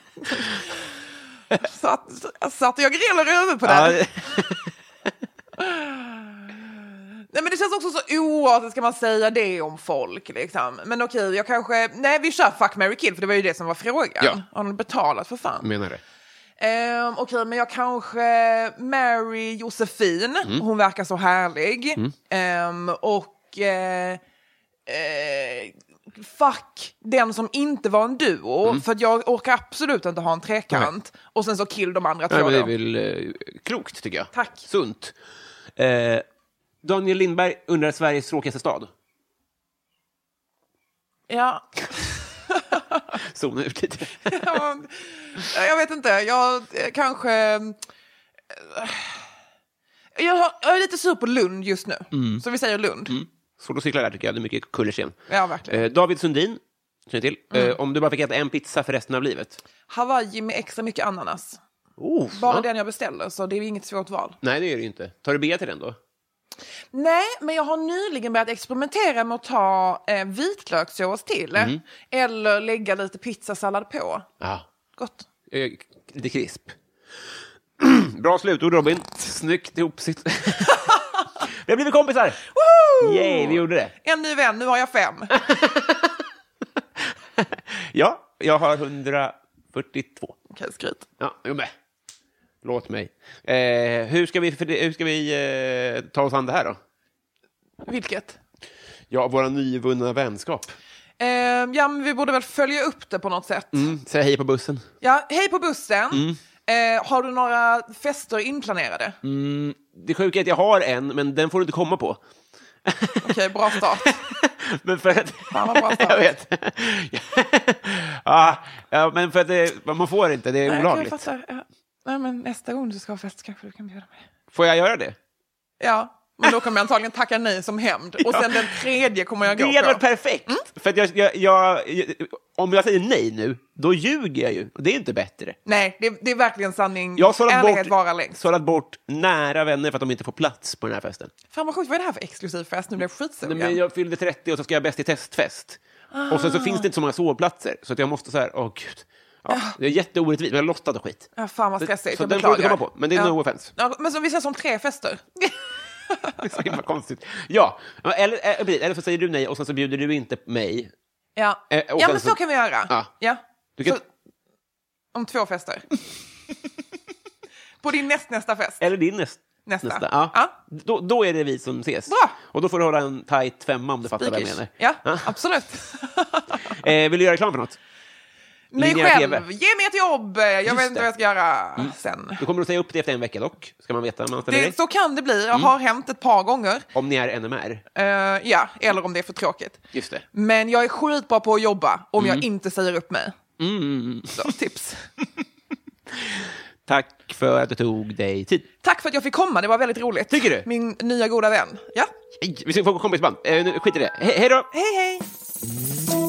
[SPEAKER 3] Satt, satt jag grillar över på den?
[SPEAKER 2] ja,
[SPEAKER 3] Nej, men det känns också så oartigt, ska man säga det om folk liksom? Men okej, jag kanske, nej vi kör fuck, marry, kill, för det var ju det som var frågan.
[SPEAKER 2] Ja. Mm.
[SPEAKER 3] Har ni betalat för fan?
[SPEAKER 2] menar det.
[SPEAKER 3] Ehm, okej, men jag kanske Mary Josefin.
[SPEAKER 2] Mm.
[SPEAKER 3] Hon verkar så härlig. Ehm, och eh, eh, fuck den som inte var en duo.
[SPEAKER 2] Mm.
[SPEAKER 3] För att jag orkar absolut inte ha en trekant. Och sen så kill de andra två
[SPEAKER 2] Nej, men det är
[SPEAKER 3] då.
[SPEAKER 2] väl eh, klokt, tycker jag.
[SPEAKER 3] Tack.
[SPEAKER 2] Sunt. Eh, Daniel Lindberg undrar Sveriges tråkigaste stad.
[SPEAKER 3] Ja.
[SPEAKER 2] Zona ut lite.
[SPEAKER 3] Ja, jag vet inte, jag eh, kanske... eh, Jag, har, jag är lite sur på Lund just nu.
[SPEAKER 2] Mm.
[SPEAKER 3] Så vi säger Lund.
[SPEAKER 2] Svårt att cykla där, tycker jag. Det är mycket kullersten.
[SPEAKER 3] Ja, verkligen. Mm.
[SPEAKER 2] Eh, David Sundin, känner till. Eh, om du bara fick äta en pizza för resten av livet.
[SPEAKER 3] Hawaii med extra mycket ananas.
[SPEAKER 2] Oh,
[SPEAKER 3] Bara
[SPEAKER 2] ja.
[SPEAKER 3] den jag beställer, så det är inget svårt val.
[SPEAKER 2] Nej, det är det ju inte. Tar du B till den då?
[SPEAKER 3] Nej, men jag har nyligen börjat experimentera med att ta eh, vitlökssås till.
[SPEAKER 2] Mm.
[SPEAKER 3] Eller lägga lite pizzasallad på.
[SPEAKER 2] Ja.
[SPEAKER 3] Gott.
[SPEAKER 2] Eh, lite krisp. Bra slutord, Robin. Snyggt ihopsytt. vi har blivit kompisar!
[SPEAKER 3] Woho!
[SPEAKER 2] Yay, vi gjorde det.
[SPEAKER 3] En ny vän, nu har jag fem.
[SPEAKER 2] Ja, jag har 142.
[SPEAKER 3] Okej, skryt.
[SPEAKER 2] Ja, jag är med. Låt mig. Eh, hur ska vi, för hur ska vi eh, ta oss an det här då?
[SPEAKER 3] Vilket?
[SPEAKER 2] Ja, våra nyvunna vänskap.
[SPEAKER 3] Eh, ja, men vi borde väl följa upp det på något sätt.
[SPEAKER 2] Mm, säg hej på bussen.
[SPEAKER 3] Ja, hej på bussen.
[SPEAKER 2] Mm.
[SPEAKER 3] Eh, har du några fester inplanerade?
[SPEAKER 2] Mm. Det sjuka är att jag har en, men den får du inte komma på.
[SPEAKER 3] Okej, bra start.
[SPEAKER 2] Men för att...
[SPEAKER 3] Fan, vad bra sagt.
[SPEAKER 2] jag vet. ja, ja, men för att det, man får inte, det är
[SPEAKER 3] Nej, jag
[SPEAKER 2] olagligt.
[SPEAKER 3] fattar. Ja. Nej, men nästa gång du ska ha fest kanske du kan bjuda mig.
[SPEAKER 2] Får jag göra det?
[SPEAKER 3] Ja, men då kommer jag antagligen tacka nej som hämnd. Och sen den tredje kommer jag
[SPEAKER 2] Det
[SPEAKER 3] gå
[SPEAKER 2] hade varit
[SPEAKER 3] på.
[SPEAKER 2] perfekt! För att jag, jag, jag, om jag säger nej nu, då ljuger jag ju. Och det är inte bättre.
[SPEAKER 3] Nej, det, det är verkligen sanning.
[SPEAKER 2] Jag har sållat
[SPEAKER 3] Ärlighet
[SPEAKER 2] bort,
[SPEAKER 3] varar längst.
[SPEAKER 2] sållat bort nära vänner för att de inte får plats på den här festen.
[SPEAKER 3] Fan vad sjukt, vad är det här för exklusiv fest? Nu blev jag
[SPEAKER 2] Nej,
[SPEAKER 3] skitsugen.
[SPEAKER 2] men jag fyllde 30 och så ska jag bäst i testfest. Och sen så
[SPEAKER 3] Ah.
[SPEAKER 2] finns det inte så många sovplatser, så att jag måste så här, åh gud. Ja,
[SPEAKER 3] Ah.
[SPEAKER 2] det är jätteorättvist, men jag lottade skit.
[SPEAKER 3] Ja, fan vad stressigt,
[SPEAKER 2] Så
[SPEAKER 3] jag
[SPEAKER 2] den får du inte
[SPEAKER 3] beklagar.
[SPEAKER 2] komma på, men det är no offense.
[SPEAKER 3] Ja, men så vi ses om tre fester.
[SPEAKER 2] Det är så himla konstigt. Ja, eller, eh, precis, eller så säger du nej och sen så bjuder du inte mig.
[SPEAKER 3] Ja,
[SPEAKER 2] Eh, och
[SPEAKER 3] ja
[SPEAKER 2] sen
[SPEAKER 3] men så,
[SPEAKER 2] så-
[SPEAKER 3] kan vi göra.
[SPEAKER 2] Ja. Du kan,
[SPEAKER 3] Så, om två fester. På din nästnästa fest.
[SPEAKER 2] eller din näst,
[SPEAKER 3] Nästa.
[SPEAKER 2] ja.
[SPEAKER 3] Ja.
[SPEAKER 2] Då, då är det vi som ses.
[SPEAKER 3] Bra.
[SPEAKER 2] Och då får du hålla en tajt femma om du fattar vad jag
[SPEAKER 3] Spikers.
[SPEAKER 2] menar.
[SPEAKER 3] Ja, absolut.
[SPEAKER 2] Eh, vill du göra reklam för något?
[SPEAKER 3] Mig
[SPEAKER 2] Linjär
[SPEAKER 3] själv,
[SPEAKER 2] TV.
[SPEAKER 3] ge mig ett jobb. Jag vet
[SPEAKER 2] det.
[SPEAKER 3] inte
[SPEAKER 2] Mm.
[SPEAKER 3] vad jag ska göra sen.
[SPEAKER 2] Du kommer att säga upp det efter en vecka dock, ska man veta när man ställer dig.
[SPEAKER 3] Det, så kan det bli.
[SPEAKER 2] Mm.
[SPEAKER 3] Jag har hänt ett par gånger.
[SPEAKER 2] Om ni är NMR.
[SPEAKER 3] Eh, ja, eller om det är för tråkigt.
[SPEAKER 2] Just det.
[SPEAKER 3] Men jag är skitbra på att jobba om
[SPEAKER 2] Mm.
[SPEAKER 3] jag inte säger upp mig. Så, tips.
[SPEAKER 2] Tack för att du tog dig tid.
[SPEAKER 3] Tack för att jag fick komma, det var väldigt roligt.
[SPEAKER 2] Tycker du?
[SPEAKER 3] Min nya goda vän. Ja,
[SPEAKER 2] Hej, Vi ska få kompisband. Eh, nu, skit i det. He- hej då!
[SPEAKER 3] hej hej.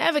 [SPEAKER 7] Ever